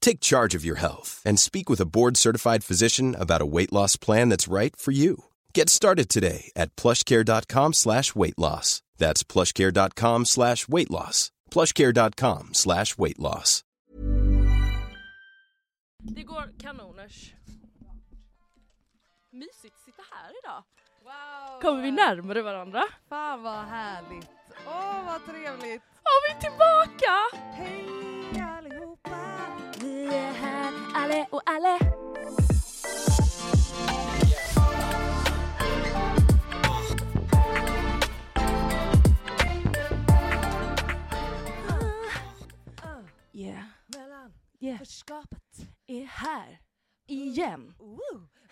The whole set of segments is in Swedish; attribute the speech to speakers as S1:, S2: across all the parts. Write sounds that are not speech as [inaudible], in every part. S1: Take charge of your health and speak with a board-certified physician about a weight loss plan that's right for you. Get started today at plushcare.com slash weight loss. That's plushcare.com slash weight loss. plushcare.com slash weight loss.
S2: Det går kanoners. Mysigt att sitta här idag.
S3: Wow!
S2: Kommer vi närmare varandra?
S3: Fan vad härligt! Åh vad trevligt!
S2: Ja, vi är tillbaka!
S3: Hej allihopa!
S2: Vi är här, alle och alle. Yeah,
S3: Mellan
S2: yeah,
S3: förskapet.
S2: är här. Igen.
S3: Woo!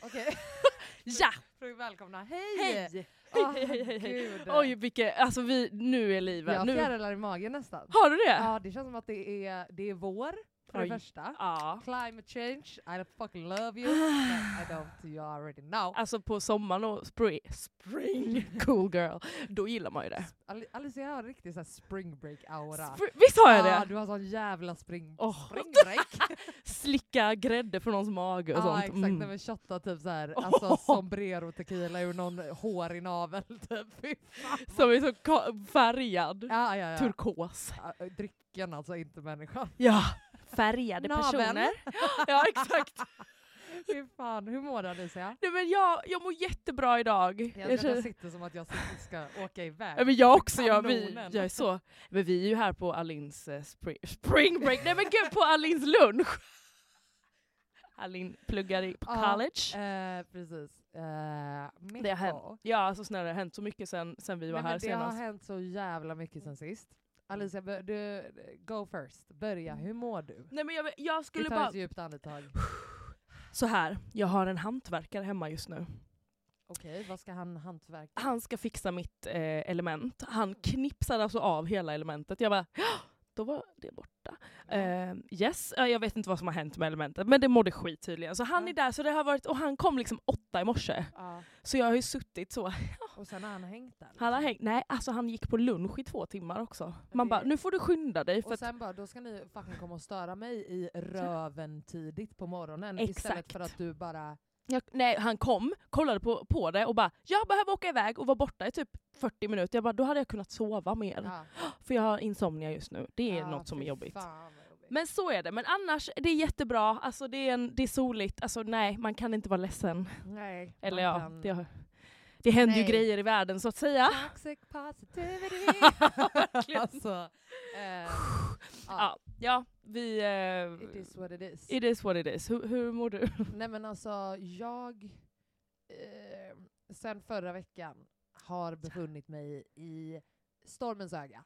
S3: Okej,
S2: [laughs] Ja!
S3: får vi välkomna. Hej!
S2: Hej!
S3: Åh,
S2: Hej, hej, hej, hej.
S3: gud.
S2: Oj vilket, alltså vi, nu är livet.
S3: Jag har
S2: nu.
S3: fjärilar i magen nästan.
S2: Har du det?
S3: Ja, det känns som att det är, det är vår, för
S2: Oj.
S3: det första.
S2: Ja. Ah.
S3: Climate change, I fucking love you. No, I don't, you already know.
S2: Alltså på sommaren och spring,
S3: [laughs]
S2: spring, cool girl, då gillar man ju det.
S3: Al- Alicia har en riktig så här spring break-aura.
S2: Spr- Visst har jag
S3: Ah,
S2: det?
S3: du har sån jävla spring...
S2: Åh. [laughs]
S3: spring break.
S2: Slicka grädde från någons mage och
S3: Ja
S2: sånt.
S3: exakt,
S2: Mm.
S3: när vi shottar
S2: [laughs]
S3: typ såhär, alltså sombrero tequila ur någon hårig navel [laughs] typ. Fy fan.
S2: Som är så ka- färgad.
S3: Ja, ja, ja.
S2: Turkos.
S3: Ja, drycken alltså, inte människan.
S2: Ja. Färgade
S3: Naveln. [laughs]
S2: ja exakt.
S3: Fy fan, hur mår du Alicia?
S2: Nej, men jag, jag mår jättebra idag.
S3: Jag, jag
S2: känner-
S3: sitter som att jag ska åka iväg.
S2: Ja, men jag också, jag, vi,
S3: Kanonen.
S2: jag är så. Men vi är ju här på Alins eh, spring, spring break, nej men gud på Alins
S3: [laughs]
S2: lunch! Alin pluggar i på
S3: Ja,
S2: college.
S3: Eh, precis. Eh,
S2: Det har
S3: mycket.
S2: hänt. Ja alltså snälla det har hänt så mycket sen, sen vi var
S3: Nej, men
S2: här
S3: det har
S2: senast.
S3: hänt så jävla mycket sen sist. Alicia, bör- du, go first. Börja, hur mår du?
S2: Nej men jag, jag
S3: Vi
S2: skulle
S3: tar
S2: bara...
S3: ett djupt andetag.
S2: Så här, jag har en hantverkare hemma just nu.
S3: Okej, vad ska han hantverka?
S2: Han ska fixa mitt eh, element. Han knipsar alltså av hela elementet. Jag bara, "Ja, då var det borta. Eh, yes, eh, jag vet inte vad som har hänt med elementet men det mådde skit tydligen. Så han
S3: Ja.
S2: är där, så det har varit, och han kom liksom åtta i morse.
S3: Ja,
S2: Så jag har ju suttit så.
S3: och sen har han hängt där.
S2: Han har
S3: liksom.
S2: hängt, nej alltså han gick på lunch i två timmar också. Man
S3: Det-
S2: bara, nu får du skynda dig för
S3: Och
S2: att,
S3: sen bara, då ska ni fucking komma och störa mig i röven tidigt på morgonen istället för
S2: Exakt.
S3: att du bara...
S2: jag, nej han kom, kollade på, på det och bara, jag behöver åka iväg och var borta i typ 40 minuter. Jag bara, då hade jag kunnat sova mer.
S3: Ja,
S2: För jag har insomnia just nu, det är
S3: ja,
S2: något som är
S3: fy
S2: jobbigt.
S3: fan vad jobbigt.
S2: Men så är det, men annars, det är jättebra, alltså det är, en, det är soligt, alltså nej man kan inte vara ledsen.
S3: Nej,
S2: Eller
S3: man
S2: ja,
S3: kan-
S2: det, det händer ju
S3: Nej.
S2: grejer i världen så att säga.
S3: Toxic positivity!
S2: [laughs] Verkligen.
S3: alltså, eh,
S2: Ja, ja vi...
S3: it
S2: Eh,
S3: is what it is.
S2: it is what it is. Hur, hur mår du?
S3: Nej men alltså, jag... Eh, sen förra veckan har befunnit mig i stormens öga.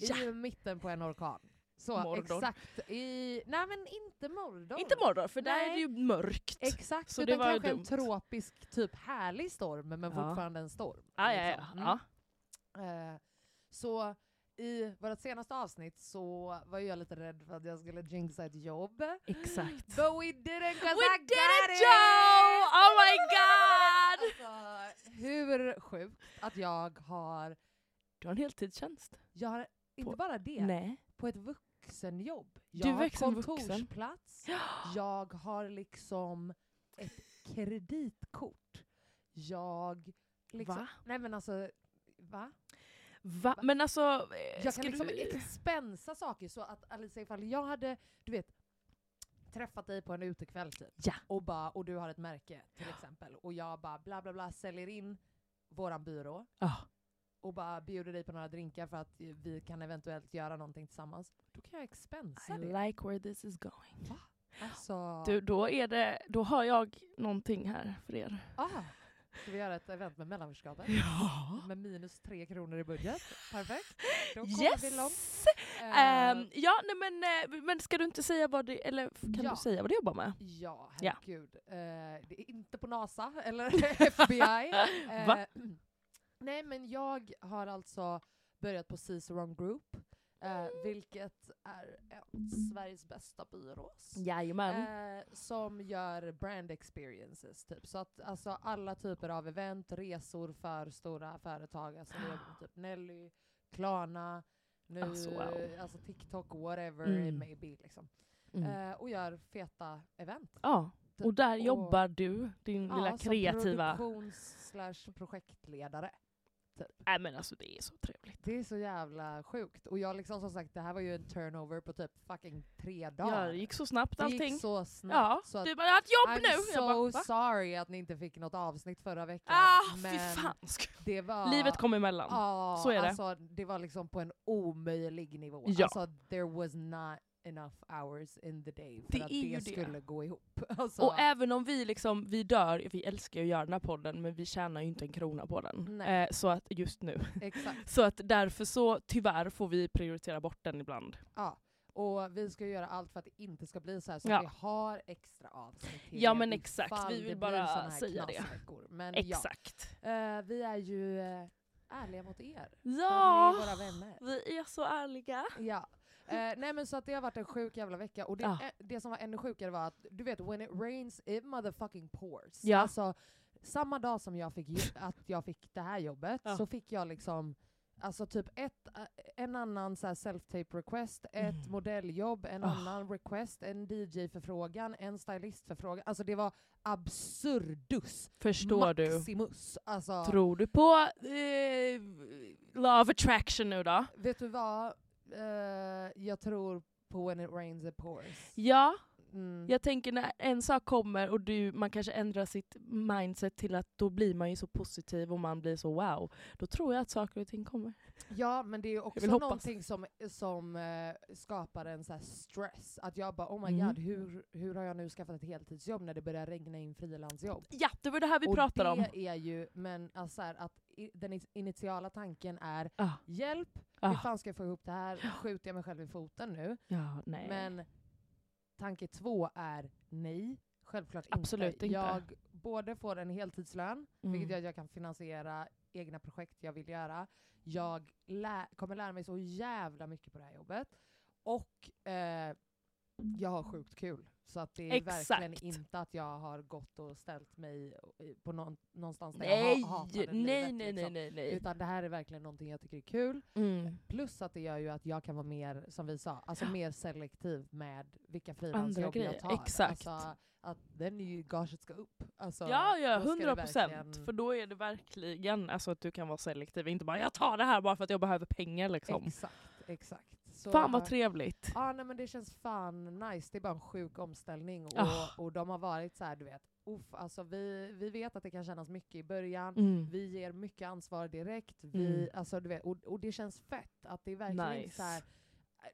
S3: I mitten på en orkan. Så
S2: Mordor.
S3: exakt i... Nej men inte Mordor.
S2: Inte Mordor, för där är
S3: Nej.
S2: det ju mörkt.
S3: Exakt,
S2: Så
S3: utan
S2: det var ju
S3: kanske en
S2: dumt.
S3: tropisk, typ härlig storm, men
S2: Ja.
S3: fortfarande en storm.
S2: ah, ja, ja,
S3: liksom. Mm.
S2: ja.
S3: Eh, så i vårt senaste avsnitt så var jag lite rädd för att jag skulle jinxa ett jobb.
S2: Exakt.
S3: But we didn't 'cause
S2: We
S3: I
S2: did
S3: got
S2: it, Joe! Oh my god!
S3: Alltså, hur sjukt att jag har,
S2: Du har en heltidstjänst.
S3: jag har inte
S2: På-
S3: bara det,
S2: Nej.
S3: på ett vuxet vuxenjobb.
S2: Du
S3: Jag
S2: är
S3: har
S2: vuxen vuxen. [gasps]
S3: kontorsplats. Jag har liksom ett kreditkort. Jag liksom...
S2: Va?
S3: Nej men alltså, va?
S2: Va? Men alltså, eh,
S3: Jag
S2: ska
S3: kan liksom
S2: du... [laughs]
S3: expensa saker så att Alicia ifall jag hade, du vet, träffat dig på en utekväll typ.
S2: Ja.
S3: Och, bara, och du har ett märke till exempel. Och jag bara bla bla bla säljer in våran byrå.
S2: Ja.
S3: Och bara bjuder dig på några drinkar för att eh, vi kan eventuellt göra någonting tillsammans. Då kan jag expensa
S2: I
S3: det.
S2: like where this is going.
S3: Alltså,
S2: Du, då, är det, då har jag någonting här för er.
S3: ah, ska vi göra ett event med mellanförskapet?
S2: Ja!
S3: Med minus tre kronor i budget. Perfekt. Då kommer
S2: Yes!
S3: vi långt. Eh,
S2: Ehm, ja, nej, men, eh, men ska du inte säga vad det, eller f- kan
S3: Ja.
S2: du säga vad du jobbar
S3: [laughs]
S2: med?
S3: Ja,
S2: Ja.
S3: herregud. Eh, det är inte på NASA [laughs] eller
S2: [laughs]
S3: FBI. Eh, [clears throat]
S2: Va?
S3: Nej, men jag har alltså börjat på Ciceron Group, eh,
S2: Mm.
S3: vilket är en Sveriges bästa byrås.
S2: Jajamän.
S3: Eh, som gör brand experiences, typ. Så att alltså, alla typer av event, resor för stora företag. Alltså vi jobbar med
S2: [gasps]
S3: typ Nelly, Klarna, nu,
S2: Alltså, wow.
S3: alltså TikTok, whatever it
S2: Mm.
S3: may be. Liksom.
S2: Mm.
S3: Eh, och gör feta event.
S2: ja, och där
S3: och-
S2: jobbar du, din lilla
S3: alltså,
S2: kreativa...
S3: Som produktions slash projektledare.
S2: Nej men alltså det är så trevligt.
S3: Det är så jävla sjukt. Och jag liksom som sagt, det här var ju en turnover på typ fucking tre dagar.
S2: Ja, det gick så snabbt
S3: Det gick
S2: allting.
S3: så snabbt.
S2: ja,
S3: så att
S2: du bara jag har ett jobb
S3: I'm
S2: nu!
S3: so
S2: jag bara, va?
S3: sorry att ni inte fick något avsnitt förra veckan.
S2: ah, fy
S3: men
S2: fan.
S3: det var...
S2: Livet kom emellan.
S3: Ja,
S2: Så är det.
S3: Alltså, det var liksom på en omöjlig nivå.
S2: Ja.
S3: Alltså, there was not enough hours in the day för
S2: Det
S3: att
S2: är
S3: det,
S2: ju det.
S3: skulle gå ihop. [laughs] Alltså,
S2: Och även om vi liksom, vi dör, vi älskar ju att göra den här podden men vi tjänar ju inte en krona på den.
S3: Nej.
S2: Eh, så att just nu. [laughs]
S3: exakt.
S2: Så att därför så tyvärr får vi prioritera bort den ibland.
S3: Ja. Och vi ska ju göra allt för att det inte ska bli så här så
S2: Ja.
S3: vi har extra avsnitt till
S2: Ja,
S3: er
S2: men exakt.
S3: ifall
S2: Vi vill
S3: det blir
S2: bara
S3: såna här
S2: säga det.
S3: knasveckor. Men
S2: Exakt.
S3: ja, eh, vi är ju eh, ärliga mot er.
S2: Ja!
S3: Ni är våra vänner.
S2: Vi är så ärliga.
S3: Ja. Eh, nej men så att det har varit en sjuk jävla vecka och det,
S2: Ja.
S3: eh, det som var ännu sjukare var att du vet when it rains it motherfucking pours.
S2: Ja.
S3: Alltså samma dag som
S2: [laughs]
S3: jag fick, ju- att jag fick det här jobbet
S2: Ja.
S3: så fick jag liksom Alltså typ ett, eh, en annan så här self-tape request, ett
S2: Mm.
S3: modelljobb, en
S2: Ah.
S3: annan request, en DJ-förfrågan, en stylist-förfrågan. Alltså det var absurdus.
S2: Förstår du?
S3: Maximus. Alltså,
S2: Tror du på eh, love attraction nu då?
S3: vet du vad? Eh, jag tror på when it rains it pours.
S2: Ja,
S3: Mm.
S2: jag tänker när en sak kommer och du, man kanske ändrar sitt mindset till att då blir man ju så positiv och man blir så wow. Då tror jag att saker och ting kommer.
S3: Ja men det är ju också
S2: vill hoppas.
S3: någonting som, som eh, skapar en så här stress. Att jag bara oh my
S2: Mm.
S3: god, hur, hur har jag nu skaffat ett heltidsjobb när det börjar regna in frilansjobb?
S2: Ja, det var det här vi
S3: Och
S2: pratade
S3: det
S2: om.
S3: är ju, men alltså så här, att i, den is- initiala tanken är
S2: Ah.
S3: hjälp, hur
S2: Ah,
S3: fan ska jag få ihop det här? Skjuter jag mig själv i foten nu?
S2: ja, nej.
S3: Men tanke två är nej, självklart
S2: Absolut
S3: inte.
S2: inte.
S3: Jag både får en heltidslön
S2: Mm.
S3: Vilket gör att jag kan finansiera egna projekt jag vill göra. Jag lä- kommer lära mig så jävla mycket på det här jobbet. Och eh, jag har sjukt kul. Så att det är
S2: Exakt.
S3: verkligen inte att jag har gått och ställt mig i- på någon, någonstans där
S2: nej,
S3: jag ha- hatade
S2: nej, nej,
S3: livet,
S2: nej, nej,
S3: liksom.
S2: nej,
S3: Utan det här är verkligen någonting jag tycker är kul.
S2: Mm.
S3: Plus att det gör ju att jag kan vara mer, som vi sa, alltså mer selektiv med vilka frilansjobb
S2: grejer,
S3: jag tar.
S2: exakt.
S3: Alltså, att den är ju gaget ska upp. Alltså,
S2: Ja, ja,
S3: då ska det
S2: 100 procent.
S3: verkligen-
S2: För då är det verkligen alltså, att du kan vara selektiv. Inte bara jag tar det här bara för att jag behöver pengar. Liksom.
S3: Exakt, exakt. Så,
S2: Fan vad trevligt.
S3: Ja, nej, men det känns fan nice. Det är bara en sjuk omställning. Och,
S2: Ah.
S3: och de har varit så här, du vet, uff, alltså vi, vi vet att det kan kännas mycket i början.
S2: Mm.
S3: Vi ger mycket ansvar direkt. Vi,
S2: Mm.
S3: alltså, du vet, och, och det känns fett att det är verkligen inte så här,
S2: Nice.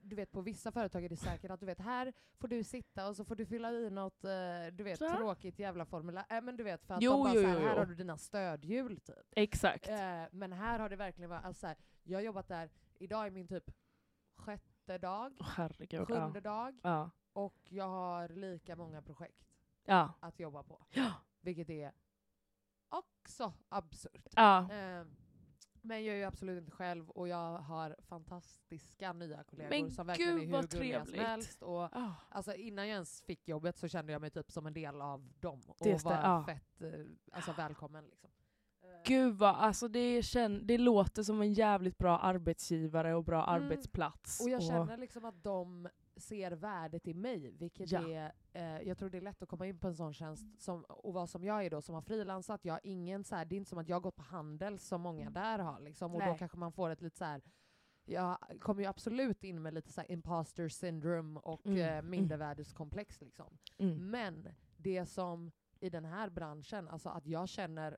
S3: du vet på vissa företag är det säkert att du vet här får du sitta och så får du fylla i något eh, du vet,
S2: Va?
S3: tråkigt jävla formulär. Äh, men du vet för att
S2: Jo,
S3: de bara
S2: jo,
S3: så här,
S2: jo,
S3: här
S2: jo.
S3: har du dina stödhjul typ.
S2: Exakt.
S3: Eh, men här har det verkligen varit, alltså, så här, jag har jobbat där, idag är min typ sjätte dag,
S2: Åh, herregud. Ja.
S3: sjunde dag
S2: Ja.
S3: och jag har lika många projekt
S2: Ja.
S3: att jobba på.
S2: Ja.
S3: Vilket är också absurt.
S2: ja.
S3: Eh, men jag är ju absolut inte själv och jag har fantastiska nya kollegor
S2: Men
S3: som verkligen
S2: gud,
S3: är hur
S2: vad
S3: gulliga som
S2: trevligt.
S3: helst. Och,
S2: Ah.
S3: alltså, innan jag ens fick jobbet så kände jag mig typ som en del av dem och
S2: Det stä-
S3: var
S2: ja.
S3: fett eh, alltså, välkommen. Liksom. Eh,
S2: Gud vad, alltså det, kän- det låter som en jävligt bra arbetsgivare och bra
S3: Mm.
S2: arbetsplats.
S3: Och jag känner liksom att de ser värdet i mig, vilket
S2: Ja.
S3: är, eh, jag tror det är lätt att komma in på en sån tjänst som, och vara som jag är då som har frilansat. Jag har ingen så här, det är inte som att jag har gått på handel som många där har liksom, och då
S2: Mm. Nej.
S3: kanske man får ett lite så här. Jag kommer ju absolut in med lite så här imposter syndrome och
S2: Mm,
S3: eh,
S2: mm.
S3: mindervärdeskomplex liksom.
S2: mm.
S3: Men det som i den här branschen, alltså att jag känner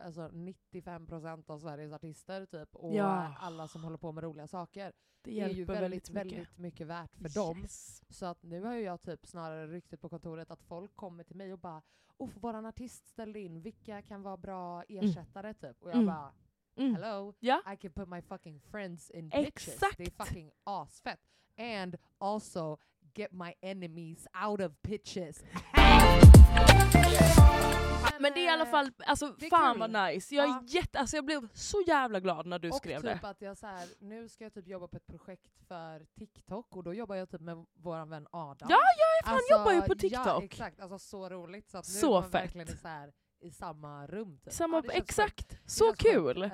S3: alltså 95% av Sveriges artister typ och
S2: Ja.
S3: alla som håller på med roliga saker
S2: det
S3: är ju
S2: hjälper
S3: väldigt,
S2: väldigt mycket.
S3: väldigt mycket värt för dem.
S2: Yes.
S3: Så att nu har ju jag typ snarare ryktet på kontoret att folk kommer till mig och bara Uff, våran artist ställde in, vilka kan vara bra ersättare typ? Och jag
S2: Mm.
S3: bara
S2: Mm.
S3: hello,
S2: Ja.
S3: I can put my fucking friends in
S2: Exakt.
S3: bitches. Det är fucking asfett. And also get my enemies out of pitches.
S2: Men det är i alla
S3: eh,
S2: fall, alltså
S3: det är
S2: fan
S3: kul.
S2: vad nice. Jag, är
S3: Ja.
S2: jätte, alltså jag blev så jävla glad när du
S3: och
S2: skrev
S3: typ
S2: det.
S3: att jag så här, nu ska jag typ jobba på ett projekt för TikTok och då jobbar jag typ med våran vän Adam. Alltså,
S2: Ja, ja, fan, jobbar ju på
S3: Ja,
S2: TikTok.
S3: exakt. Alltså så roligt. Så att nu
S2: Så
S3: är man
S2: fett.
S3: verkligen i så här, i samma rum. Typ.
S2: Samma,
S3: ja, det känns skönt.
S2: exakt,
S3: Det
S2: så
S3: känns skönt.
S2: kul!
S3: Eh,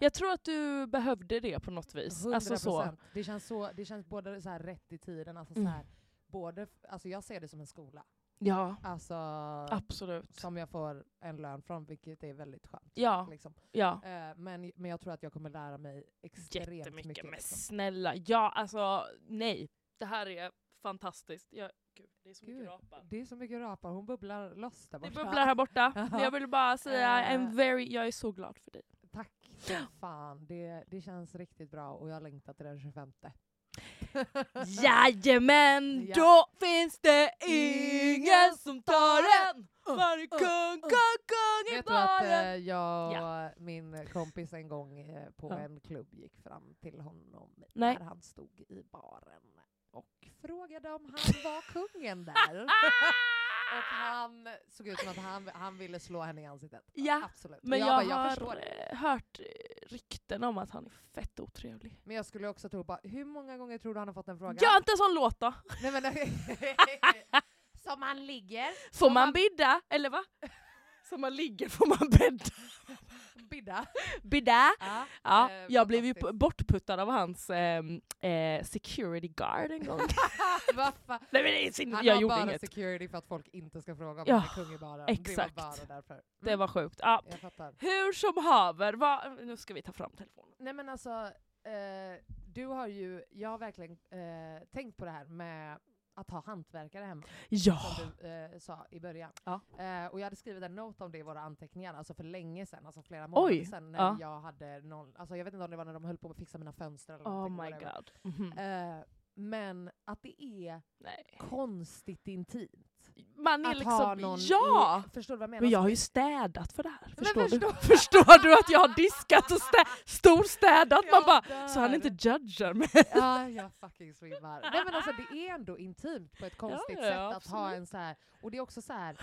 S2: Jag tror att du behövde det på något vis.
S3: 100%.
S2: Alltså så.
S3: Det, känns så, det känns både så här rätt i tiden, alltså
S2: Mm.
S3: så här, både, alltså jag ser det som en skola.
S2: Ja,
S3: Alltså,
S2: absolut.
S3: som jag får en lön från, vilket är väldigt skönt.
S2: Ja,
S3: Liksom.
S2: ja.
S3: Eh, men, men jag tror att jag kommer lära mig extremt
S2: Jättemycket.
S3: mycket.
S2: men
S3: liksom.
S2: snälla, ja alltså nej. Det här är fantastiskt. Jag, gud, det är så mycket
S3: Gud.
S2: rapar.
S3: Det är så mycket rapar, hon bubblar loss där
S2: Det
S3: borta.
S2: bubblar här borta.
S3: [laughs]
S2: Men jag vill bara säga,
S3: Eh.
S2: I'm very, jag är så glad
S3: [laughs]
S2: för dig.
S3: Tack som fan, det, det känns riktigt bra och jag längtar till den 25.
S2: Jajamän,
S3: Ja.
S2: då finns det ingen
S3: Ingen
S2: som
S3: tar
S2: tar en! Man är kung, kung, kung i
S3: Vet du att eh,
S2: baren!
S3: jag och
S2: Ja.
S3: min kompis en gång eh, på
S2: Ja.
S3: en klubb gick fram till honom
S2: Nej.
S3: när han stod i baren och frågade om han
S2: [laughs]
S3: var kungen där. och han såg ut som att han, han ville slå henne i ansiktet.
S2: Ja,
S3: Absolut.
S2: Men
S3: jag,
S2: jag,
S3: bara, jag förstår
S2: har
S3: det.
S2: eh, hört eh, rykten om att han är fett otrevlig.
S3: Men jag skulle också tro, bara, hur många gånger tror du han har fått den frågan?
S2: Gör inte en sån låt då!
S3: Nej, men, [laughs] som han ligger.
S2: Får
S3: Som
S2: man
S3: man-
S2: bidda? Eller
S3: [laughs]
S2: va? Som man ligger får man bädda.
S3: Bidda.
S2: Bidda!
S3: Ja,
S2: Ja,
S3: eh,
S2: jag blev ju
S3: fantastiskt.
S2: p- bortputtad av hans ehm, eh, security guard en
S3: [laughs]
S2: gång. [laughs]
S3: Vad fan.
S2: Nej men det är sin,
S3: Han
S2: jag
S3: har
S2: gjorde
S3: bara
S2: inget.
S3: security för att folk inte ska fråga om
S2: Ja,
S3: han är kung i baren.
S2: exakt.
S3: Det var bara därför. Mm,
S2: Det var sjukt. Ja.
S3: Jag fattar.
S2: Hur som haver, vad- nu ska vi ta fram telefonen.
S3: Nej men alltså, eh, du har ju, jag har verkligen eh, tänkt på det här med att ha hantverkare hemma,
S2: Ja!
S3: som du eh, sa i början.
S2: Ah. Ja.
S3: Eh, och jag hade skrivit en note om det i våra anteckningar, alltså för länge sedan, alltså flera månader
S2: Oj,
S3: sedan när
S2: ja.
S3: jag hade någon, alltså jag vet inte om det var när de höll på att fixa mina fönster eller
S2: Oh
S3: någonting,
S2: my
S3: whatever.
S2: god. Mhm.
S3: Eh, men att det är
S2: Nej.
S3: konstigt intimt.
S2: Man är
S3: Att
S2: liksom,
S3: ha någon
S2: ja!
S3: i, Förstår du vad jag menar?
S2: Men jag har ju städat för det här.
S3: Alltså, Men
S2: Förstår, [laughs]
S3: förstår-
S2: du? förstår du att jag har diskat och stä- storstädat? Man
S3: Alltså, Jag
S2: bara,
S3: dör.
S2: så han inte judgar mig. [laughs]
S3: Ja, jag fucking svimmar. Nej men alltså det är ändå intimt på ett konstigt
S2: ja,
S3: sätt att ha
S2: absolut.
S3: en så här. och det är också så här.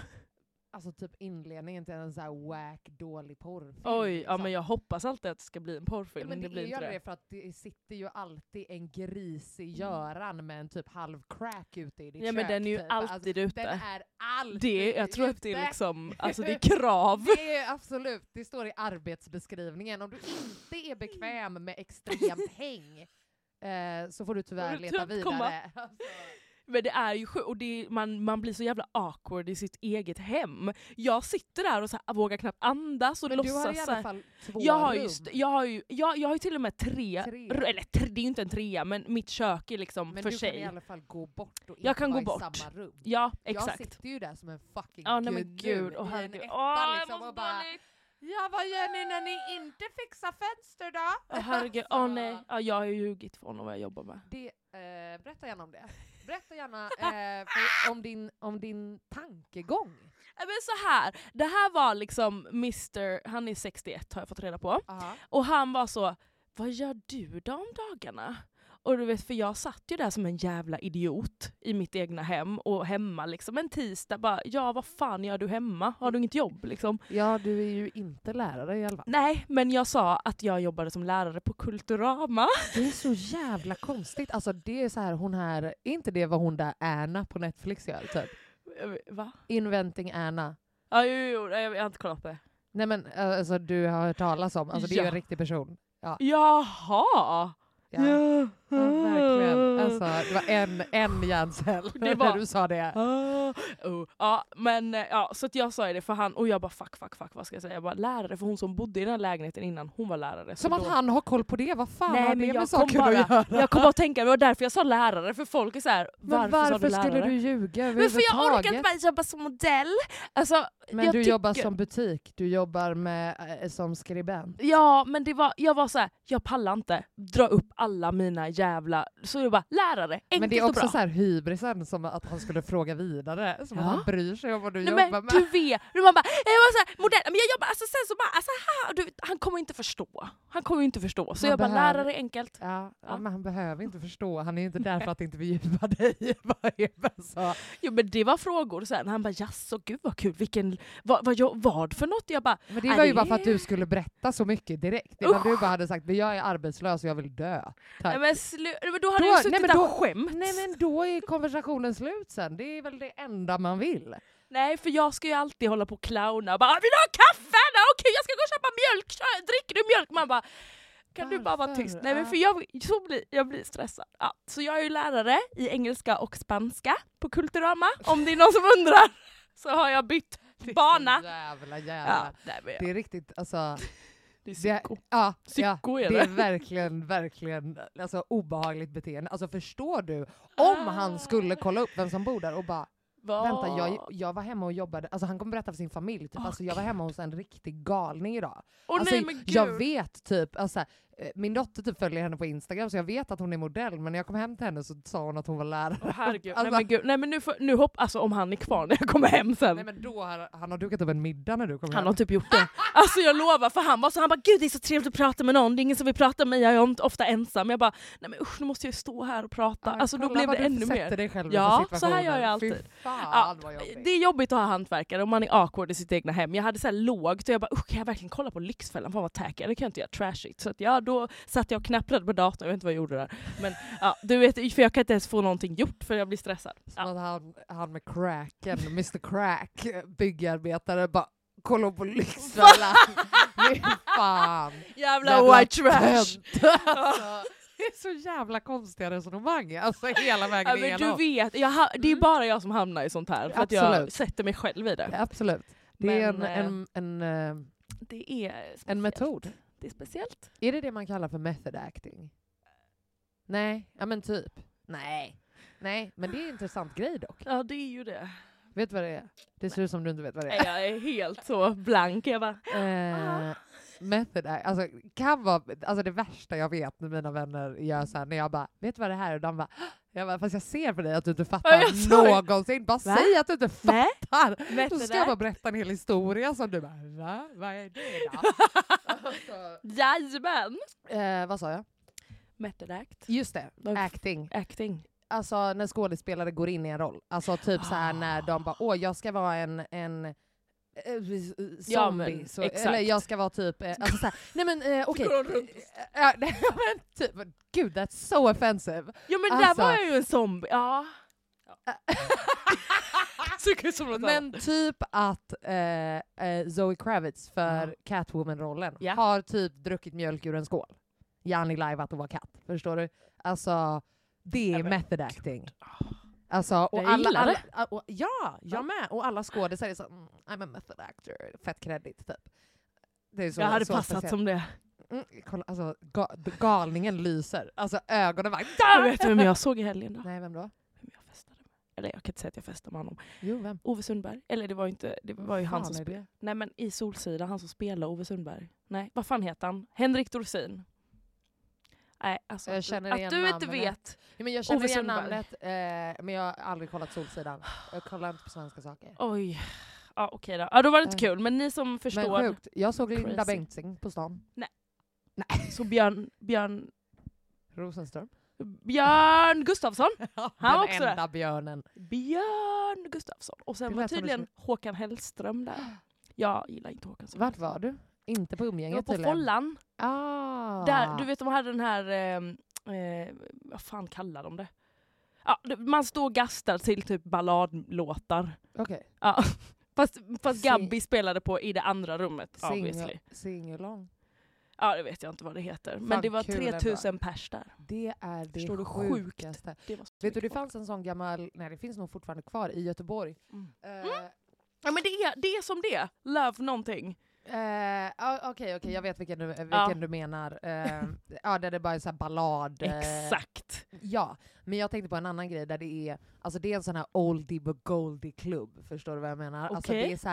S3: alltså typ inledningen till en så här wack dålig porrfilm.
S2: Oj, ja
S3: liksom.
S2: men jag hoppas alltid att det ska bli en
S3: Ja,
S2: porrfilm,
S3: men det,
S2: blir
S3: är ju
S2: inte
S3: aldrig
S2: det.
S3: det för att det sitter ju alltid en grisig Göran med en typ halv crack ute i ditt
S2: Ja,
S3: kök.
S2: men den är ju
S3: typ.
S2: alltid ute.
S3: Den är alltid
S2: det. Jag tror
S3: ute.
S2: att det är
S3: [laughs]
S2: liksom, alltså det är krav.
S3: Det är absolut, det står i arbetsbeskrivningen. Om du inte är bekväm med
S2: [laughs]
S3: extremt häng eh, så får du tyvärr
S2: Får du
S3: leta
S2: typ komma.
S3: vidare. Alltså,
S2: Men det är ju sjukt, och det är, man, man blir så jävla awkward i sitt eget hem. Jag sitter där och så här, vågar knappt andas och
S3: Men du
S2: låtsas
S3: har i
S2: så här-
S3: alla fall två
S2: jag har,
S3: rum.
S2: ju st- jag, har ju, jag, jag har ju till och med tre,
S3: Tre.
S2: r- eller tre, det är ju inte en trea, men mitt kök är liksom
S3: men
S2: för
S3: du kan i
S2: sig.
S3: alla fall gå bort och inte
S2: Jag kan gå
S3: vara i
S2: bort.
S3: samma rum.
S2: Ja,
S3: Jag
S2: exakt.
S3: sitter ju där som en fucking
S2: Ja, nej men
S3: gud,
S2: gud,
S3: nu,
S2: och
S3: i en
S2: herregud.
S3: etta
S2: Åh, jag
S3: liksom,
S2: mår
S3: och bara
S2: [laughs] dåligt.
S3: Ja vad gör ni när ni inte fixar fönster då?
S2: Åh herregud, åh nej. Ja, jag har ju ljugit för honom vad jag jobbar med.
S3: Det, eh, berätta gärna om det. Berätta gärna eh, för, om, din, om din tankegång.
S2: Nej, Men så här, det här var liksom Mr, han är 61 har jag fått reda på. Och han var så, vad gör du då om dagarna? Och du vet, för jag satt ju där som en jävla idiot i mitt egna hem och hemma liksom en tisdag bara, ja vad fan gör du hemma? Har du inget jobb liksom?
S3: Ja, du är ju inte lärare i alla fall.
S2: Nej, men jag sa att jag jobbade som lärare på Kulturama.
S3: Det är så jävla konstigt. Alltså det är så här, hon här, är inte det vad hon där Erna på Netflix gör? Typ.
S2: Va?
S3: Inventing Erna.
S2: Ja, jo, jo, jo, jag jag har inte kollat på det.
S3: Nej men eh, alltså du har hört talas om, alltså det är ju
S2: Ja.
S3: en riktig person.
S2: Jaha!
S3: Ja. Ja, verkligen. Alltså, det var en, en hjärncell
S2: Det
S3: [laughs] när
S2: var-
S3: du sa det.
S2: Ah, oh. Ja, men eh, ja, så att jag sa ju det för han och jag bara fuck, fuck, fuck, vad ska jag säga? Jag bara lärare, för hon som bodde i den här lägenheten innan, hon var lärare. så
S3: Som att
S2: då-
S3: han har koll på det, vad fan
S2: Nej,
S3: har
S2: men
S3: det med
S2: jag kom
S3: saker
S2: bara-
S3: att göra?
S2: Jag kom bara att tänka, det var därför jag sa lärare, för folk är så här, varför,
S3: men varför
S2: sa du lärare?
S3: skulle du ljuga
S2: men för jag orkar
S3: överhuvudtaget?
S2: inte bara jobba som modell. Alltså,
S3: Men
S2: jag
S3: du jobbar
S2: tycker-
S3: som butik, du jobbar med, eh, som skribent.
S2: Ja, men det var, jag var så här, jag pallar inte dra upp alla mina jävla... Så det var bara, lärare, enkelt
S3: Men det är
S2: och bra.
S3: också så här hybrisen, som att han skulle fråga vidare. Som att
S2: Ja.
S3: han bryr sig om vad du
S2: Nej,
S3: jobbar
S2: men
S3: med.
S2: du vet, nu man bara, jag var såhär, modell, men jag jobbar, alltså sen så bara, alltså, ha, du, vet, han kommer inte förstå. Han kommer inte förstå. Så
S3: Man
S2: jag bara,
S3: behöver-
S2: lärare enkelt.
S3: Ja, ja,
S2: Ja.
S3: men han behöver inte förstå, han är ju inte där för att intervjua [laughs] dig. Vad är det så?
S2: Jo men det var frågor sen, han bara jaså gud vad kul, vilken, vad, vad, jag- vad för något? Jag bara,
S3: Men det
S2: Ja,
S3: var ju
S2: det
S3: bara för att
S2: är-
S3: du skulle berätta så mycket direkt. Innan du bara hade sagt "Men jag är arbetslös och jag vill dö. Tack.
S2: nej men slu, nej, men då hade
S3: Då-
S2: jag
S3: nej,
S2: ju suttit
S3: men
S2: där
S3: då-
S2: och skämt.
S3: Nej men då är konversationen slut sen, det är väl det enda man vill.
S2: Nej för jag ska ju alltid hålla på och clowna, bara vill du ha kaffe? Nej, Okej jag ska gå och köpa mjölk, Kö- dricker du mjölk? Man bara, kan du bara vara
S3: Varför?
S2: tyst? Nej men
S3: Ja.
S2: för jag, så blir, jag blir stressad. Ja, så jag är ju lärare i engelska och spanska på Kulturama, om det är någon som undrar. [laughs] Så har jag bytt bana.
S3: Jävla
S2: Ja,
S3: jävla.
S2: nej, men, jag-
S3: Det är riktigt alltså.
S2: det är
S3: det-
S2: psyko.
S3: Ja, ja,
S2: Psyko är
S3: det är
S2: det.
S3: verkligen, verkligen alltså, obehagligt beteende. Alltså förstår du? Om
S2: Ah.
S3: han skulle kolla upp vem som bor där och bara
S2: Vad-
S3: Vänta,
S2: Ah."
S3: jag, jag var hemma och jobbade, alltså han kommer berätta för sin familj, typ, alltså, jag var hemma hos en riktig galning idag.
S2: Åh,
S3: alltså,
S2: nej, men gud.
S3: jag vet typ, alltså, eh, min dotter typ följer henne på Instagram så jag vet att hon är modell men när jag kom hem till henne så sa hon att hon var lärare.
S2: Åh herregud,
S3: Alltså-
S2: nej men gud, nej men nu, får, nu hopp, alltså om han är kvar när jag kommer hem sen.
S3: Nej men då har han har dukat upp en middag när du kommer
S2: han
S3: hem.
S2: har typ gjort det. Alltså jag lovar, för han var så han bara gud det är så trevligt att prata med någon, det är ingen som vill prata med mig, jag är ont- ofta ensam. Jag bara nej men usch nu måste jag ju stå här och prata. alltså då
S3: Kolla
S2: blev det
S3: vad du
S2: ännu
S3: sätter
S2: mer.
S3: Dig själv
S2: Ja,
S3: i för
S2: så här gör jag
S3: situationer.
S2: alltid.
S3: Fy fan
S2: Ja,
S3: vad jobbigt.
S2: det är jobbigt att ha hantverkare om man är awkward i sitt egna hem. Jag hade så här lågt och jag bara usch kan jag verkligen kolla på Lyxfällan? Fan vad tacky, det kan jag inte göra trashigt. Så att ja, då satt jag och knapprade på datorn, jag vet inte vad jag gjorde där. Men ja, du vet, för jag kan inte ens få någonting gjort för jag blir stressad.
S3: Som
S2: Ja.
S3: att han, han med cracken, Mr Crack, byggarbetare, bara kolla på Lyxfällan.
S2: [laughs]
S3: Fy fan.
S2: Jävla,
S3: Jävla
S2: white trash!
S3: tönt. Alltså, det är så jävla konstiga resonemang, alltså hela
S2: Ja,
S3: vägen
S2: men
S3: igenom. Mm.
S2: du vet, jag ha, det är bara jag som hamnar i sånt här. För att jag
S3: Absolut.
S2: sätter mig själv i det.
S3: Absolut. Det är
S2: Men,
S3: en, en, en, eh,
S2: Det är speciellt.
S3: en metod.
S2: Det är speciellt.
S3: Är det det man kallar för method acting? Nej, ja men typ. Nej. Nej, men det är en intressant grej dock.
S2: Ja, det är ju det.
S3: Vet du vad det är? Det ser ut som du inte vet vad det
S2: Nej,
S3: är.
S2: Jag är helt så blank. Jag bara,
S3: Eh, method act, alltså, kan vara, alltså det värsta jag vet när mina vänner gör så här, när jag bara vet du vad det här är? Och de bara, "Hå!" jag bara fast jag ser på dig att du inte
S2: Ja, jag
S3: fattar
S2: sa det.
S3: någonsin, bara
S2: Va?
S3: säg att du inte
S2: nej.
S3: fattar!
S2: Method
S3: Då ska jag bara
S2: act.
S3: berätta en hel historia som du bara va? Vad är det då?
S2: [laughs]
S3: alltså,
S2: Jajamän!
S3: eh, vad sa jag?
S2: Method act.
S3: Just det,
S2: Vad-
S3: acting.
S2: Acting.
S3: Alltså när skådespelare går in i en roll. Alltså typ så här när de bara åh jag ska vara en, en eh, zombie.
S2: men,
S3: så,
S2: exakt.
S3: eller jag ska vara typ, eh, alltså så här, nej men eh, okej.
S2: Går de runt?
S3: Ja, [laughs] nej, men typ, gud that's so
S2: [laughs]
S3: offensive.
S2: Ja men
S3: Alltså.
S2: där var jag ju en zombie.
S3: [laughs]
S2: Ja. Tycker som något annat.
S3: Men typ att eh, eh, Zoe Kravitz för Catwoman-rollen
S2: Ja.
S3: har typ druckit mjölk ur en skål. Janni live att hon var katt, förstår du? Alltså det
S2: Ja,
S3: är
S2: men Ah.
S3: method acting. Alltså, och
S2: Jag
S3: alla,
S2: gillar
S3: alla,
S2: det.
S3: a- och, ja, jag med. Och alla skådisar är så mm, I'm a method actor, fett kredit typ. Det är så,
S2: jag hade
S3: så
S2: passat
S3: speciellt.
S2: som det.
S3: Mm, kolla, alltså, ga, galningen lyser, alltså ögonen bara...
S2: [laughs] Jag vet vem jag såg i helgen då?
S3: Nej, vem då?
S2: Vem jag festade med. Eller jag kan inte säga att jag festade med honom.
S3: Jo, vem?
S2: Ove Sundberg. Eller det var ju inte, det var ju han
S3: Fan
S2: som
S3: är
S2: spelade.
S3: det?
S2: Nej men i Solsida, han som spelar Ove Sundberg. Nej, vad fan heter han? Henrik Dorsin. Nej, alltså
S3: Jag
S2: att du-
S3: känner
S2: att
S3: igen
S2: du inte
S3: namnet.
S2: vet.
S3: Ja, men jag känner
S2: Ove
S3: igen
S2: Sundberg.
S3: namnet, eh, men jag har aldrig kollat Solsidan. Jag kollar inte på svenska saker.
S2: Oj. Ja okej då. Ja, då var det inte
S3: Äh.
S2: kul, men ni som
S3: Men
S2: förstår.
S3: sjukt, jag såg Linda
S2: Crazy.
S3: Bengtzing på stan.
S2: Nej. [laughs]
S3: Nej.
S2: Så Björn, Björn, [laughs]
S3: Rosenström.
S2: Björn Gustafsson. Han var
S3: Den
S2: också där.
S3: enda björnen.
S2: Björn Gustafsson. Och sen
S3: Det
S2: var
S3: lät som det
S2: tydligen Håkan Hellström där. Jag gillar inte Håkan. så
S3: Vart
S2: mycket.
S3: var du? Inte på
S2: Jag var
S3: umgänget
S2: på Follan.
S3: Ah.
S2: Där, du vet de hade den här, eh, eh, vad fan kallar de det? Ja, [laughs] det- man står och gastar till typ balladlåtar.
S3: Okej.
S2: Ja. Fast, fast
S3: Se-
S2: Gabby spelade på i det andra rummet obviously.
S3: Sing- Singalong.
S2: Ja det vet jag inte vad det heter. Men
S3: Fan,
S2: det var
S3: kul ändå.
S2: 3000 pers där.
S3: Det är det
S2: Förstår du? Sjukt.
S3: sjukaste.
S2: Det var så
S3: Vet du,
S2: mycket
S3: det
S2: folk.
S3: fanns en sån gammal, nej det finns nog fortfarande kvar i Göteborg.
S2: Mm.
S3: Eh,
S2: Ja men det är, det är som det. Love någonting.
S3: Eh, ja, Okej, okej, jag vet vilken du, vilken
S2: Ja.
S3: du menar. Eh, ja, där det bara är så här ballad. eh,
S2: Exakt.
S3: Ja, men jag tänkte på en annan grej där det är, alltså det är en sån här oldie but goldie klubb, förstår du vad jag menar? Alltså
S2: Okej.
S3: det är så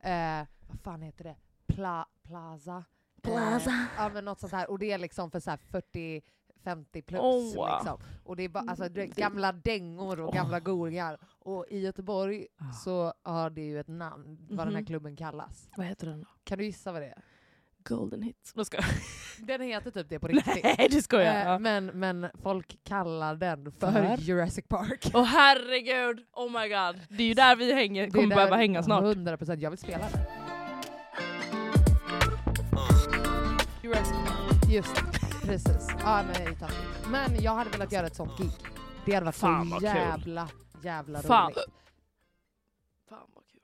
S3: här, eh, vad fan heter det? Pla, plaza? Eh, ja men något sånt här, och det är liksom för så här 40 50 plus
S2: Åh.
S3: liksom. Och det är bara alltså, det är gamla dängor och gamla goringar. Och i Göteborg
S2: Ah.
S3: så har det ju ett namn, vad den här
S2: Mhm.
S3: klubben kallas.
S2: Vad heter den då?
S3: Kan du gissa vad det är?
S2: Golden hits. Nu ska jag.
S3: Den heter
S2: [laughs]
S3: typ [laughs] det på riktigt.
S2: Nej du skojar.
S3: Eh,
S2: Ja.
S3: men, men folk kallar den för,
S2: För?
S3: Jurassic Park.
S2: Åh herregud, oh my god. Det är ju där vi hänger,
S3: Det är
S2: kommer
S3: där-
S2: behöva hänga snart.
S3: 100%, jag vill spela den.
S2: Jurassic
S3: Just det, precis. Ja, men, jag är taskig. men jag hade velat göra ett sånt gig. Det hade varit
S2: Fan,
S3: så
S2: vad kul.
S3: jävla, jävla
S2: Fan.
S3: roligt. [laughs]
S2: Fan vad kul.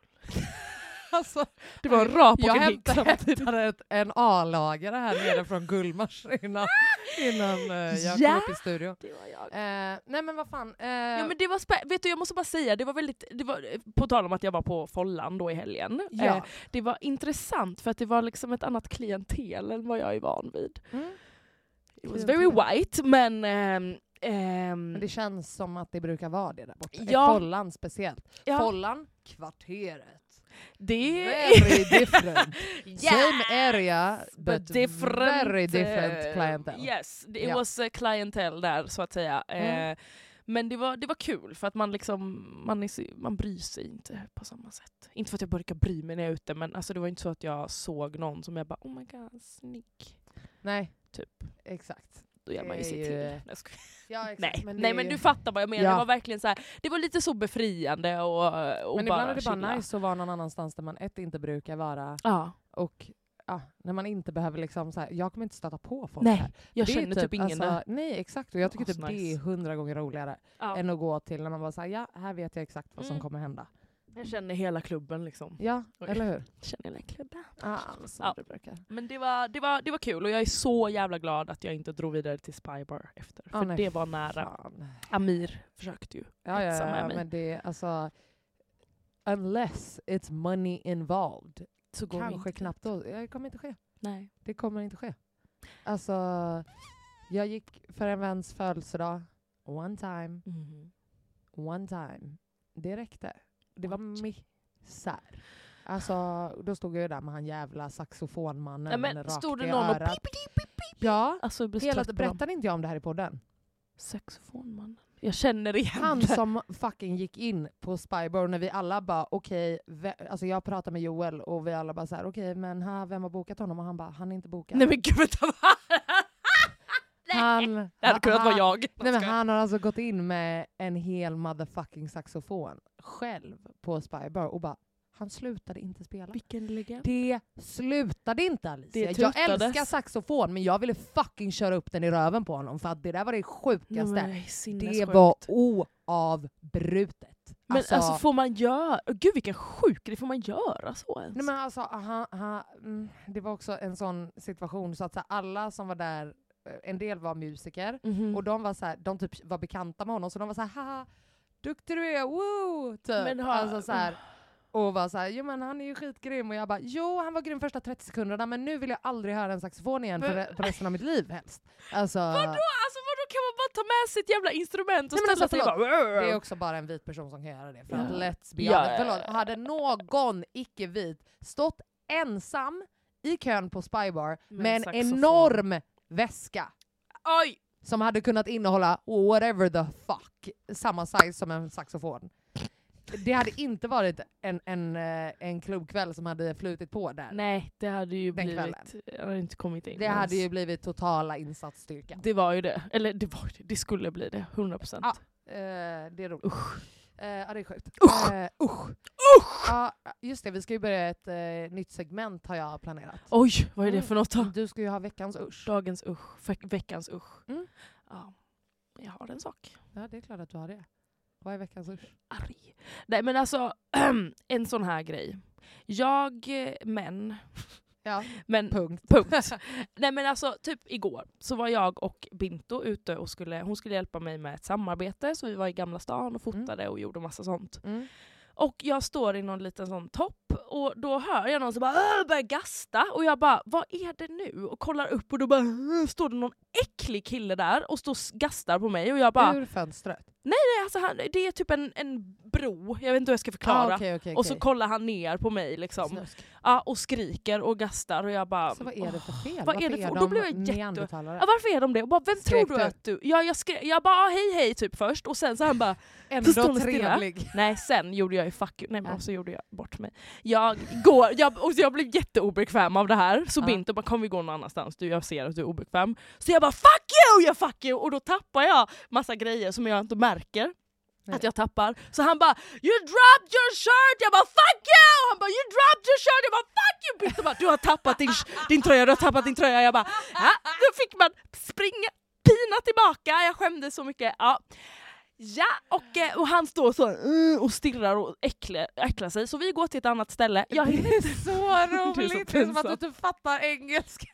S3: Alltså,
S2: Det var en rap och
S3: jag
S2: en hick
S3: hämtade,
S2: samtidigt.
S3: hämtade ett, en A-lagare här nere från Gullmars innan, innan eh, jag
S2: Ja.
S3: kom upp i studion.
S2: Det var jag.
S3: Eh, nej men vad fan. eh,
S2: Ja men det var spä- vet du jag måste bara säga, det var väldigt, det var, eh, på tal om att jag var på Follan då i helgen.
S3: ja.
S2: Eh, det var intressant för att det var liksom ett annat klientel än vad jag är van vid.
S3: Mm.
S2: It was very
S3: Klientel.
S2: white men... ehm, ehm,
S3: Men det känns som att det brukar vara det där borta.
S2: Ja.
S3: I Follan speciellt.
S2: ja,
S3: Follan, kvarteret.
S2: det [laughs]
S3: Very different. [laughs] Same
S2: Yes!
S3: area but very different
S2: eh,
S3: clientele.
S2: Yes, it
S3: Ja.
S2: was a clientele där så att säga.
S3: Mm.
S2: Eh, men det var, det var kul för att man, liksom, man, är, så- man bryr sig inte på samma sätt. Inte för att jag brukar bry mig när jag är ute men alltså, det var inte så att jag såg någon som jag bara oh my god, snygg.
S3: Nej,
S2: Typ.
S3: exakt.
S2: Då gör
S3: Det
S2: man ju
S3: är
S2: sig
S3: ju-
S2: till. Nej, jag skojar.
S3: Ja, exakt.
S2: Nej,
S3: det
S2: nej
S3: är
S2: men
S3: ju-
S2: du fattar vad jag menar.
S3: Ja.
S2: Det var verkligen så här, det var lite så befriande och, och
S3: Men
S2: bara
S3: ibland är det bara
S2: chilla.
S3: nice att vara någon annanstans där man ett inte brukar vara
S2: Ja.
S3: och ja, när man inte behöver liksom så här, jag kommer inte stöta på folk
S2: Nej,
S3: här.
S2: jag
S3: Det är
S2: känner typ, ingen där.
S3: alltså, Nej exakt, och jag tycker typ
S2: Asnice.
S3: det är hundra gånger roligare
S2: Ja.
S3: än att gå till när man bara säger ja, här vet jag exakt vad som
S2: Mm.
S3: kommer hända.
S2: Jag känner hela klubben liksom.
S3: Ja,
S2: Oj.
S3: eller
S2: [laughs]
S3: hur?
S2: Känner hela klubben.
S3: Ah, som
S2: Ja.
S3: det brukar.
S2: Men det var, det, var, det var kul och jag är så jävla glad att jag inte drog vidare till Spybar efter.
S3: Ja,
S2: för
S3: nej,
S2: det var nära.
S3: Fan.
S2: Amir försökte ju.
S3: Ja, ja,
S2: Ensam är
S3: ja
S2: mig.
S3: men det är alltså... Unless it's money involved.
S2: Så går vi
S3: Kanske
S2: inte.
S3: knappt då. Ja, Det kommer inte ske.
S2: Nej.
S3: Det kommer inte ske. Alltså, jag gick för en väns födelsedag. One time,
S2: Mhm.
S3: one time. Det räckte. Det var
S2: Oj.
S3: misär. Alltså, då stod jag ju där med han jävla
S2: Nej,
S3: saxofonmannen
S2: men
S3: rakt
S2: stod
S3: i
S2: det någon och
S3: örat.
S2: pip, pip, pip, pip.
S3: Ja,
S2: Alltså jag blir så
S3: hela,
S2: trött på dem.
S3: berättade inte jag om det här i podden?
S2: Saxofonmannen. Jag känner igen
S3: Han
S2: det.
S3: som fucking gick in på Spybar när vi alla bara okej, ve- alltså jag pratade med Joel och vi alla bara så här okej men här, vem har bokat honom? Och han bara han är inte bokad.
S2: Nej men gud vänta vad?
S3: han,
S2: Det hade kunnat vara jag.
S3: Nej, men
S2: Ska-
S3: han har alltså gått in med en hel motherfucking saxofon själv på Spybar och bara han slutade inte spela.
S2: Vilken legend.
S3: Det slutade inte Alicia.
S2: Det
S3: Jag
S2: tutades.
S3: älskar saxofon men jag ville fucking köra upp den i röven på honom för att det där var det
S2: Nej,
S3: sjukaste.
S2: men det är
S3: det
S2: sinnessjukt.
S3: var oavbrutet.
S2: Men alltså, får man göra... Gud vilken sjuk grej, får man göra så ens?
S3: Nej, men alltså, han, han, mm, det var också en sån situation så att så här, alla som var där, eh, en del var musiker,
S2: Mhm.
S3: och de var så här, de typ var bekanta med honom så de var så här haha duktig du är, woo! Typ.
S2: Men har-
S3: Alltså, så här, och var så här, jo men han är ju skitgrym och jag bara jo han var grym första 30 sekunderna men nu vill jag aldrig höra en saxofon igen för
S2: Men-
S3: re- på resten av mitt liv helst. Alltså,
S2: Vadå? Alltså, vadå kan man bara ta med sitt jävla instrument och
S3: Nej, men
S2: ställa
S3: alltså,
S2: sig och bara...
S3: Det är också bara en vit person som kan göra det. För att
S2: Ja.
S3: let's be
S2: Ja,
S3: honest.
S2: ja, ja, ja.
S3: Förlåt, hade någon icke-vit stått ensam i kön på Spybar
S2: Med
S3: med en
S2: saxofon.
S3: enorm väska
S2: Oj!
S3: som hade kunnat innehålla whatever the fuck, samma size som en saxofon. Det hade inte varit en, en, eh, en klubbkväll som hade flutit på där.
S2: Nej, det hade ju
S3: Den
S2: blivit...
S3: kvällen.
S2: Jag hade inte kommit in
S3: det
S2: ens.
S3: hade ju blivit totala insatsstyrkan.
S2: Det var ju det. Eller det var ju det. Det skulle bli det. 100%. procent.
S3: Ja. Eh, det är roligt.
S2: Usch.
S3: Eh, ja, det är sjukt.
S2: Usch.
S3: Eh, usch.
S2: Usch!
S3: Ja, just det, vi ska ju börja ett eh, nytt segment har jag planerat.
S2: Oj, vad är det för något då?
S3: Du ska ju ha veckans Mm. usch.
S2: Dagens usch. Fe- veckans usch.
S3: Mm.
S2: Ja. Jag har en sak.
S3: Ja, det är klart att du har det. Vad är veckans usch?
S2: arg. Nej men alltså, [clears throat] en sån här grej. Jag, eh, men,
S3: Ja,
S2: men
S3: punkt.
S2: [laughs]
S3: [laughs]
S2: punkt. Nej men alltså, typ igår så var jag och Binto ute och skulle, hon skulle hjälpa mig med ett samarbete, så vi var i Gamla stan och fotade och gjorde massa sånt.
S3: Mm.
S2: Och jag står i någon liten sån topp och då hör jag någon som bara "Åh", börjar gasta och jag bara vad är det nu? Och kollar upp och då bara "Åh", står det någon äcklig kille där och står och gastar på mig och jag bara
S3: Ur fönstret.
S2: nej alltså han, det är typ en, en bro, jag vet inte hur jag ska förklara.
S3: Ah, okej, okej,
S2: Och så
S3: okej.
S2: kollar han ner på mig liksom.
S3: Snusk.
S2: Ja, och skriker och gastar och jag bara...
S3: Så vad är det för fel?
S2: vad är det
S3: Varför
S2: för- och då
S3: de
S2: blev jag jätte-
S3: neandertalare?
S2: Ja, varför är de det? Och bara, vem
S3: Skrek
S2: tror du
S3: du?
S2: att du... Ja, jag, skrek, jag bara hej hej typ först och sen så han bara Förstår
S3: Ändå
S2: ni stilla?
S3: trevlig.
S2: nej sen gjorde jag ju fuck you. Nej men
S3: Ja.
S2: och så gjorde jag bort mig. Jag går, jag, och jag blev jätteobekväm av det här så
S3: Ja.
S2: Binto bara kom vi gå någon annanstans du jag ser att du är obekväm. Så jag bara fuck you, jag fuck you och då tappar jag massa grejer som jag inte märker.
S3: Nej.
S2: Att jag tappar. Så han bara “You dropped your shirt!” Jag bara “Fuck you!” Han bara “You dropped your shirt!” Jag bara “Fuck you!” Binto bara “Du har tappat din, din tröja, du har tappat din tröja!” Jag bara “Ja!” Då fick man springa, pina tillbaka, jag skämdes så mycket. Ja. Ja, och, eh, och han står så mm, och stirrar och äcklar, äcklar sig, så vi går till ett annat ställe. [laughs] Jag
S3: Det
S2: hinner
S3: är
S2: inte.
S3: så roligt! Det är som att du
S2: pinsamt.
S3: inte fattar engelska.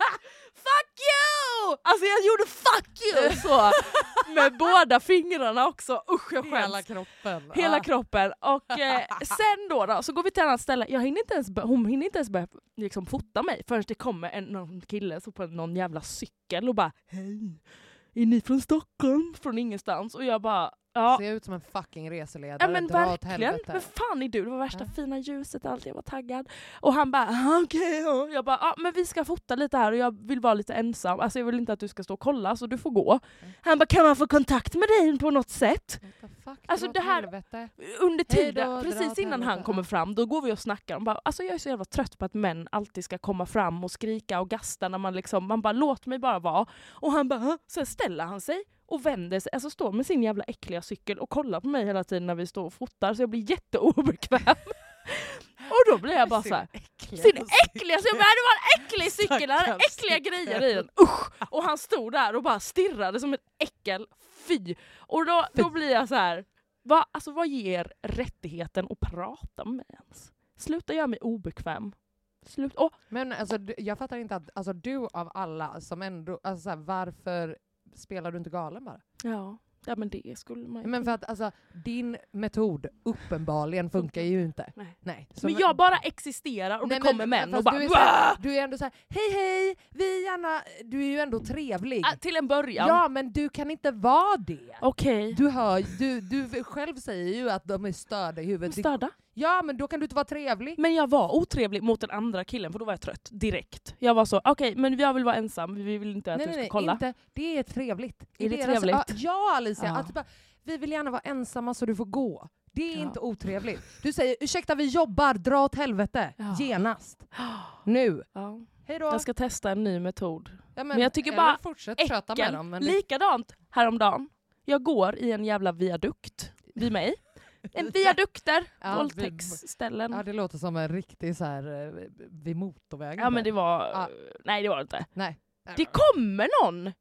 S2: Fuck you! Alltså jag gjorde fuck you! Så, [laughs] med båda fingrarna också, usch jag skäms.
S3: [laughs] Hela kroppen.
S2: Hela
S3: Ah.
S2: kroppen. Och
S3: [laughs]
S2: eh, sen då, då så går vi till ett annat ställe, jag hinner inte ens, bör- hon hinner inte ens börja liksom, fota mig förrän det kommer en, någon kille så på någon jävla cykel och bara Hej, är ni från Stockholm? Från ingenstans. Och jag bara ja.
S3: Ser ut som en fucking reseledare.
S2: Ja men
S3: Dra åt
S2: verkligen,
S3: helvete.
S2: men fan är du? Det var värsta
S3: Ja.
S2: fina ljuset och allt, jag var taggad. Och han bara "Ah, okej, ja." jag bara ja men vi ska fota lite här och jag vill vara lite ensam, alltså jag vill inte att du ska stå och kolla så du får gå.
S3: Mm.
S2: Han bara kan man få kontakt med dig på något sätt?
S3: What the fuck,
S2: Alltså,
S3: dra åt
S2: det här-
S3: helvete.
S2: Under
S3: Hej då,
S2: tiden,
S3: dra
S2: precis
S3: åt
S2: innan han
S3: helvete.
S2: kommer fram, då går vi och snackar. Och bara, alltså jag är så jävla trött på att män alltid ska komma fram och skrika och gasta när man liksom, man bara låt mig bara vara. Och han bara "Hä?" sen ställer han sig och vänder sig, alltså står med sin jävla äckliga cykel och kollar på mig hela tiden när vi står och fotar så jag blir jätteobekväm. [laughs] och då blir jag bara så här. Sin äckliga cykel! Det var en
S3: [laughs]
S2: äcklig cykel, den hade
S3: Stackars
S2: äckliga
S3: cykel.
S2: grejer i den. Usch! Och han stod där och bara stirrade som ett äckel. Fy! Och då, då blir jag så här. Va, alltså vad ger rättigheten att prata med mig ens? Sluta göra mig obekväm. Sluta. Åh,
S3: Men alltså, du- jag fattar inte att alltså, du av alla som ändå, alltså, så här, varför spelar du inte galen bara?
S2: ja. ja, men det skulle man ju
S3: Men för att alltså, din metod uppenbarligen funkar ju inte.
S2: Nej.
S3: Nej. Så
S2: Men
S3: men-
S2: jag bara existerar och
S3: Nej,
S2: det kommer män
S3: fast
S2: och bara...
S3: Du är, så
S2: "Wah!"
S3: här, du är ändå såhär, hej hej, vi är gärna, du är ju ändå trevlig.
S2: Ah, till en början.
S3: ja men du kan inte vara det.
S2: Okej.
S3: Du, hör, du, du själv säger ju att de är störda i huvudet.
S2: Störda.
S3: Ja men då kan du inte vara trevlig.
S2: Men jag var otrevlig mot den andra killen för då var jag trött direkt. Jag var så, okej men jag vill vara ensam, vi vill inte att
S3: nej,
S2: du
S3: nej,
S2: ska
S3: nej,
S2: kolla.
S3: Inte. Det är trevligt.
S2: Är
S3: I
S2: det
S3: deras-
S2: trevligt?
S3: Ja, Ja Alicia,
S2: Ja.
S3: Att du bara, vi vill gärna vara ensamma så du får gå. Det är
S2: Ja.
S3: inte otrevligt. Du säger ursäkta vi jobbar, dra åt helvete.
S2: Ja.
S3: [gasps] Genast. Nu.
S2: Ja.
S3: Hej då.
S2: Jag ska testa en ny metod.
S3: Ja,
S2: men jag tycker
S3: eller
S2: bara
S3: fortsätt tjöta med
S2: Äckel.
S3: dem. Men
S2: Likadant häromdagen. Jag går i en jävla viadukt vid mig.
S3: [laughs]
S2: En viadukter,
S3: Ja,
S2: våldtäktsställen.
S3: ja, det låter som en riktig så här eh, vid motorvägen.
S2: Ja men det var...
S3: Ja.
S2: Nej det var det inte.
S3: Nej.
S2: Det kommer någon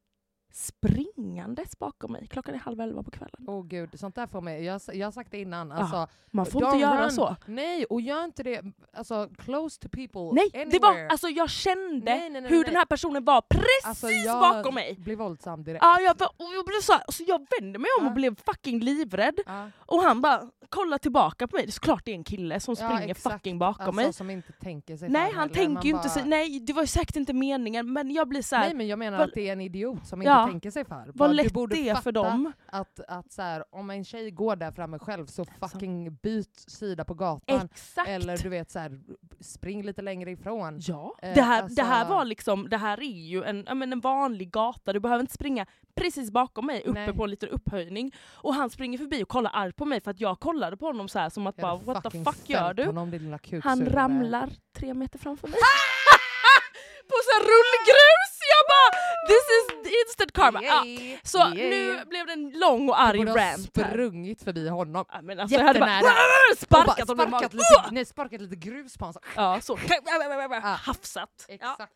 S2: springandes bakom mig. Klockan är halv elva på kvällen.
S3: Åh gud, sånt där får mig... Jag, jag har sagt det innan.
S2: Ja.
S3: Alltså,
S2: Man får
S3: don't
S2: inte göra
S3: run.
S2: så.
S3: Nej, och gör inte det alltså, close to people.
S2: Nej, det var,
S3: anywhere.
S2: alltså jag kände
S3: Nej, nej, nej,
S2: hur
S3: nej.
S2: den här personen var precis
S3: Alltså, jag
S2: bakom mig.
S3: blir våldsam direkt.
S2: Ja, jag, var- och jag blev så, här, alltså jag vände mig om
S3: Ja.
S2: och blev fucking livrädd.
S3: Ja.
S2: Och han bara kollar tillbaka på mig. Det är såklart det är en kille som
S3: Ja,
S2: springer
S3: exakt.
S2: fucking bakom
S3: alltså,
S2: mig.
S3: som inte tänker sig
S2: Nej,
S3: för
S2: han
S3: heller.
S2: tänker
S3: Man
S2: ju inte
S3: bara-
S2: sig, nej det var ju säkert inte meningen men jag blir så här,
S3: Nej men jag menar
S2: Vad-
S3: att det är en idiot som
S2: Ja.
S3: inte tänker sig för. Bara,
S2: vad
S3: du
S2: lätt
S3: borde
S2: det är för
S3: fatta
S2: dem.
S3: Att, att så här, om en tjej går där framme själv så fucking byt sida på gatan.
S2: Alltså. Exakt!
S3: Eller du vet så här, spring lite längre ifrån.
S2: Ja,
S3: Eh,
S2: det, här,
S3: alltså-
S2: det här var liksom, det här är ju en, ja, men en vanlig gata, du behöver inte springa precis bakom mig uppe
S3: Nej.
S2: på en liten upphöjning. Och han springer förbi och kollar argt på mig för att jag kollade på honom så här som att
S3: Jag
S2: bara
S3: hade
S2: what the
S3: fucking
S2: fuck gör
S3: fällt
S2: du?
S3: Honom, din lilla
S2: Han
S3: kuksugare.
S2: ramlar tre meter framför mig. [laughs] på sån rullgrus! Jag bara this is instant karma. Ja.
S3: Yay,
S2: Så
S3: yay.
S2: nu blev det en lång och arg
S3: Du borde ha
S2: rant. här.
S3: sprungit förbi honom.
S2: Ja, men alltså, jag hade bara
S3: Jättenära.
S2: sparkat
S3: Och
S2: honom i
S3: bara
S2: magen.
S3: [laughs]
S2: Ah,
S3: sparkat lite, nej, sparkat lite grus på honom. så-
S2: Ja, så. [laughs] Hafsat. Ja.
S3: Exakt.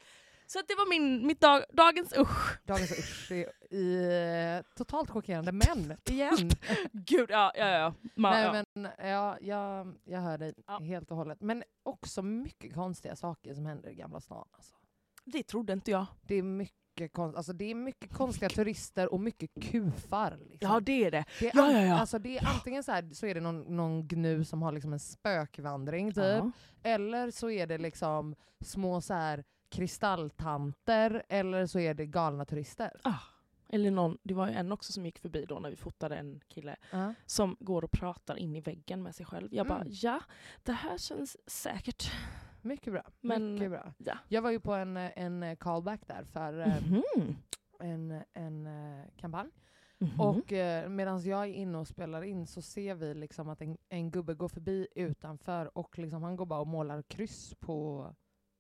S2: Så att det var min, mitt dag, dagens usch.
S3: Dagens usch är i, eh, totalt
S2: [laughs]
S3: chockerande, men igen.
S2: Gud, ja, ja, ja. Ma,
S3: Nej,
S2: ja.
S3: men, ja, jag, jag hör dig
S2: Ja.
S3: helt och hållet. Men också mycket konstiga saker som händer i Gamla stan. Alltså.
S2: Det trodde inte jag.
S3: Det, är mycket konst, alltså, det är mycket konstiga turister och mycket kufar. Liksom.
S2: Ja, det är det.
S3: det är
S2: ja,
S3: an-
S2: ja, ja.
S3: Alltså, det är antingen så, här, så är det någon, någon gnu som har liksom en spökvandring, typ.
S2: Ja.
S3: eller så är det liksom små så här, kristalltanter, eller så är det galna turister.
S2: Eller någon, det var ju en också som gick förbi då när vi fotade en kille
S3: Ja.
S2: som går och pratar in i väggen med sig själv. Jag bara,
S3: Mm.
S2: ja, det här känns säkert.
S3: Mycket bra.
S2: Men-
S3: mycket bra.
S2: Ja.
S3: Jag var ju på en, eh, en callback där för eh,
S2: Mhm.
S3: en, en eh, kampanj.
S2: Mhm.
S3: Och eh, medan jag är inne och spelar in så ser vi liksom att en, en gubbe går förbi utanför och liksom han går bara och målar kryss på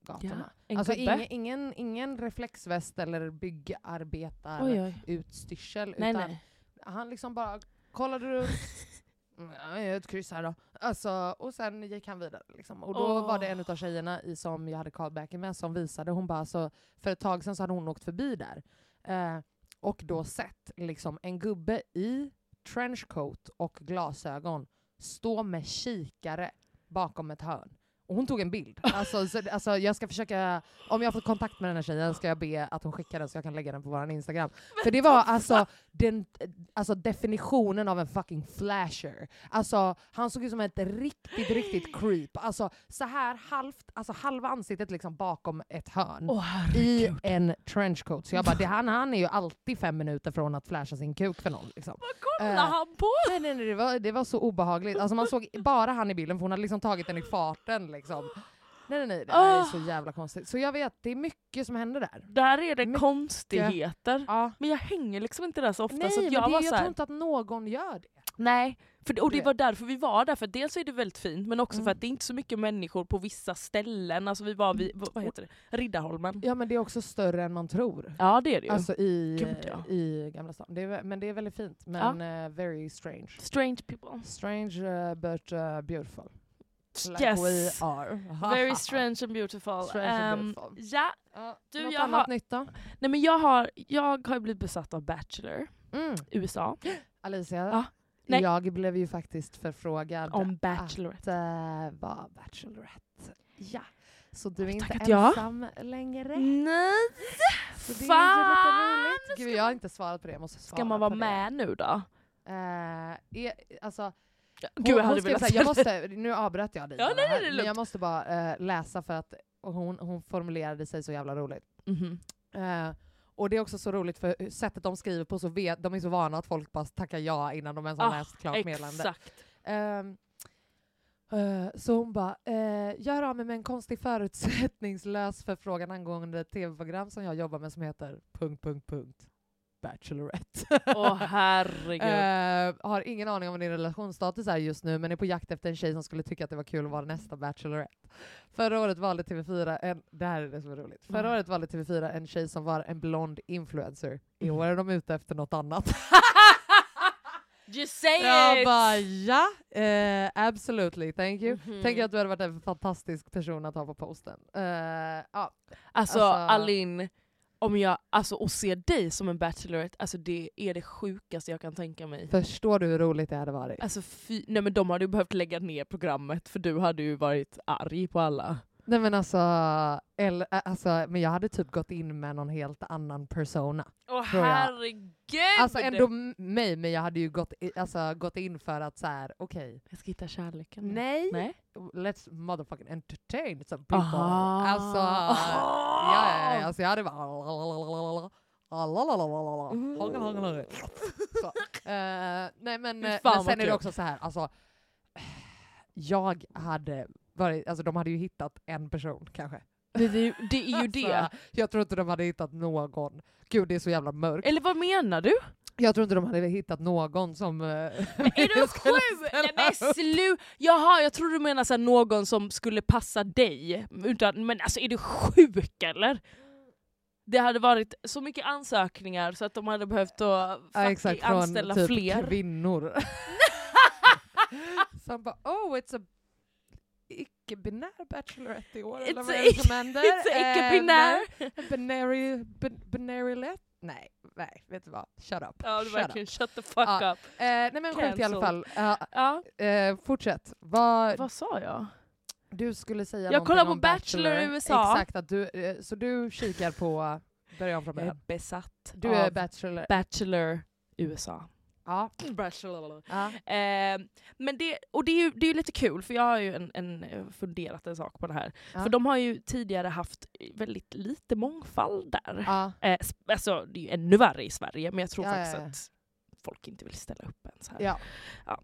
S3: gatorna.
S2: en
S3: alltså
S2: gubbe.
S3: ingen, ingen, ingen reflexväst eller byggarbetareutstyrsel.
S2: oj, oj. Nej,
S3: utan
S2: nej.
S3: han liksom bara kollade runt. Mm, Jag gör ett kryss här då. Alltså, och sen gick han vidare. Liksom. Och då
S2: Åh.
S3: var det en av tjejerna i, som jag hade callbacken med som visade, hon bara så, för ett tag sedan så hade hon åkt förbi där. Eh, och då sett liksom, en gubbe i trenchcoat och glasögon stå med kikare bakom ett hörn. Och hon tog
S2: [laughs]
S3: en bild. Alltså, så, alltså, jag ska försöka, om jag har fått kontakt med den här tjejen ska jag be att hon skickar den så jag kan lägga den på vår Instagram. För det var alltså, den, alltså definitionen av en fucking flasher. Alltså han såg ut som ett riktigt, riktigt creep. Alltså så här halvt, alltså halva ansiktet liksom bakom ett hörn.
S2: Åh
S3: I
S2: herregud.
S3: en trenchcoat. Så jag bara, det, han, han är ju alltid fem minuter från att flasha sin kuk för någon. Liksom.
S2: Vad kollar
S3: Eh,
S2: han på?
S3: Nej, nej, nej det, var, det var så obehagligt. Alltså man såg bara han i bilden för hon hade liksom tagit den i farten liksom. Nej nej nej, det här är så jävla konstigt. Så jag vet, det är mycket som händer där.
S2: Där är det
S3: mycket-
S2: konstigheter.
S3: Ja.
S2: Men jag hänger liksom inte där så ofta
S3: Nej,
S2: så att
S3: men
S2: jag
S3: det,
S2: var
S3: jag
S2: så här,
S3: tror inte att någon gör det.
S2: Nej, för, och det
S3: vet.
S2: var därför vi var där. För dels är det väldigt fint men också
S3: Mm.
S2: för att det är inte så mycket människor på vissa ställen. Alltså vi var vid, vad vad heter det? Riddarholmen.
S3: Ja men det är också större än man tror.
S2: Ja det är det ju.
S3: Alltså i,
S2: Gud, ja.
S3: i Gamla stan. Det är, vä- men det är väldigt fint, men eh, very strange.
S2: Strange people.
S3: Strange eh, but eh, beautiful. Like we
S2: yes!
S3: are. [laughs]
S2: Very strange and beautiful.
S3: Strange and
S2: Ehm,
S3: beautiful.
S2: ja.
S3: Ja,
S2: Du,
S3: något
S2: jag
S3: annat
S2: har-
S3: nytt då?
S2: Nej, men jag, har, jag har blivit besatt av Bachelor,
S3: Mm.
S2: USA.
S3: Alicia,
S2: Ja. Nej.
S3: jag blev ju faktiskt förfrågad
S2: Om Bachelorette.
S3: att eh, vara Bachelorette. Ja. Så du är
S2: Oj,
S3: inte
S2: tackat ja.
S3: ensam längre.
S2: Nej!
S3: Så det är ju
S2: Fan!
S3: lite roligt. Gud,
S2: Ska
S3: jag har
S2: man-
S3: inte svarat på det. Jag måste svara
S2: Ska man vara
S3: på det.
S2: med nu då?
S3: Eh, är, alltså, Hon,
S2: Gud jag hade
S3: hon skrev
S2: velat
S3: såhär, jag måste, nu avbröt jag dig
S2: Ja,
S3: bara
S2: nej, nej,
S3: här,
S2: det är
S3: men jag
S2: lugnt.
S3: måste bara eh, läsa för att hon, hon formulerade sig så jävla roligt.
S2: Mhm.
S3: Eh, och det är också så roligt för sättet de skriver på, så vet, de är så vana att folk bara tackar ja innan de ens har
S2: Ah,
S3: läst klart meddelandet.
S2: Exakt.
S3: Ehm, eh, så hon bara, eh, jag hör av mig med en konstig förutsättningslös förfrågan angående ett tv-program som jag jobbar med som heter... Punkt, punkt, punkt. Bachelorette.
S2: Åh herregud.
S3: [laughs] Eh, har ingen aning om vad din relationsstatus är just nu men är på jakt efter en tjej som skulle tycka att det var kul att vara nästa Bachelorette. Förra året valde TV4 en, det här är det som är roligt. Förra
S2: Mm.
S3: året valde TV4 en tjej som var en blond influencer. I
S2: Mm.
S3: år är de ute efter något annat. [laughs]
S2: [laughs] Just say
S3: Jag
S2: it!
S3: bara ja, eh, absolutely, thank you.
S2: Mhm.
S3: Tänker att du hade varit en fantastisk person att ha på posten. Eh, ja.
S2: Alltså,
S3: Alltså-
S2: Alin, om jag, alltså, och se dig som en bachelorette, alltså, det är det sjukaste jag kan tänka mig.
S3: Förstår du hur roligt det hade varit?
S2: Alltså, fy, nej, men de hade ju behövt lägga ner programmet för du hade ju varit arg på alla.
S3: Nej men alltså, eller, eh, alltså, men jag hade typ gått in med någon helt annan persona.
S2: Åh
S3: Tror jag.
S2: herregud!
S3: Alltså ändå m- mig, men jag hade ju gått, i, alltså, gått in för att så här, okej,
S2: Jag ska hitta kärleken. nu.
S3: nej,
S2: nej.
S3: let's motherfucking entertain some people.
S2: Aha.
S3: Alltså,
S2: Aha.
S3: ja, ja, ja, alltså jag hade bara... Hångel, hångel, hångel. [laughs] Så, eh, nej men,
S2: Fy
S3: eh,
S2: fan
S3: men
S2: vad
S3: sen är
S2: kul.
S3: det också så här, alltså, jag hade varit, alltså de hade ju hittat en person kanske.
S2: Det, är ju- det är ju det.
S3: Alltså, jag tror inte de hade hittat någon. Gud det är så jävla mörkt.
S2: Eller vad menar du?
S3: Jag tror inte de hade hittat någon som... eh,
S2: Är du
S3: skulle
S2: sju?
S3: ställa
S2: Nej men
S3: upp.
S2: slu... Jaha, jag tror du menar så här, någon som skulle passa dig. Utan, men alltså är du sjuk eller? Det hade varit så mycket ansökningar så att de hade behövt att
S3: Ja,
S2: fucking
S3: exakt,
S2: anställa
S3: från typ
S2: fler.
S3: kvinnor. Som bara oh it's a icke-binär Bachelorette i år,
S2: It's
S3: eller
S2: a
S3: vad är
S2: [laughs]
S3: det som
S2: ic- [laughs]
S3: händer?
S2: It's a
S3: Eh, [laughs]
S2: icke-binär.
S3: nej. Binary, bin- binarylet? Nej, nej, vet du vad? Shut up.
S2: Ja, det
S3: Shut
S2: är verkligen shut the fuck
S3: Ja.
S2: up.
S3: up. Eh, nej men sjukt i alla fall.
S2: Cancelled.
S3: Ja,
S2: Ja,
S3: eh, fortsätt. Vad,
S2: vad sa jag?
S3: du skulle säga
S2: Jag
S3: någonting
S2: kollar på
S3: om
S2: Bachelor i USA.
S3: Exakt, att du, eh, så du kikar på, börja om från
S2: Jag är
S3: början.
S2: besatt
S3: Du
S2: av
S3: är Bachelor.
S2: Bachelor USA.
S3: Ja.
S2: Bachelor.
S3: ja.
S2: Eh, men det, och det är ju det är ju lite kul, för jag har ju en, en, eh, funderat en sak på det här.
S3: Ja.
S2: För de har ju tidigare haft väldigt lite mångfald där.
S3: ja.
S2: Eh, sp- alltså, det är ju ännu värre i Sverige, men jag tror
S3: Ja,
S2: faktiskt
S3: ja, ja.
S2: att folk inte vill ställa upp ens här.
S3: Ja.
S2: Ja.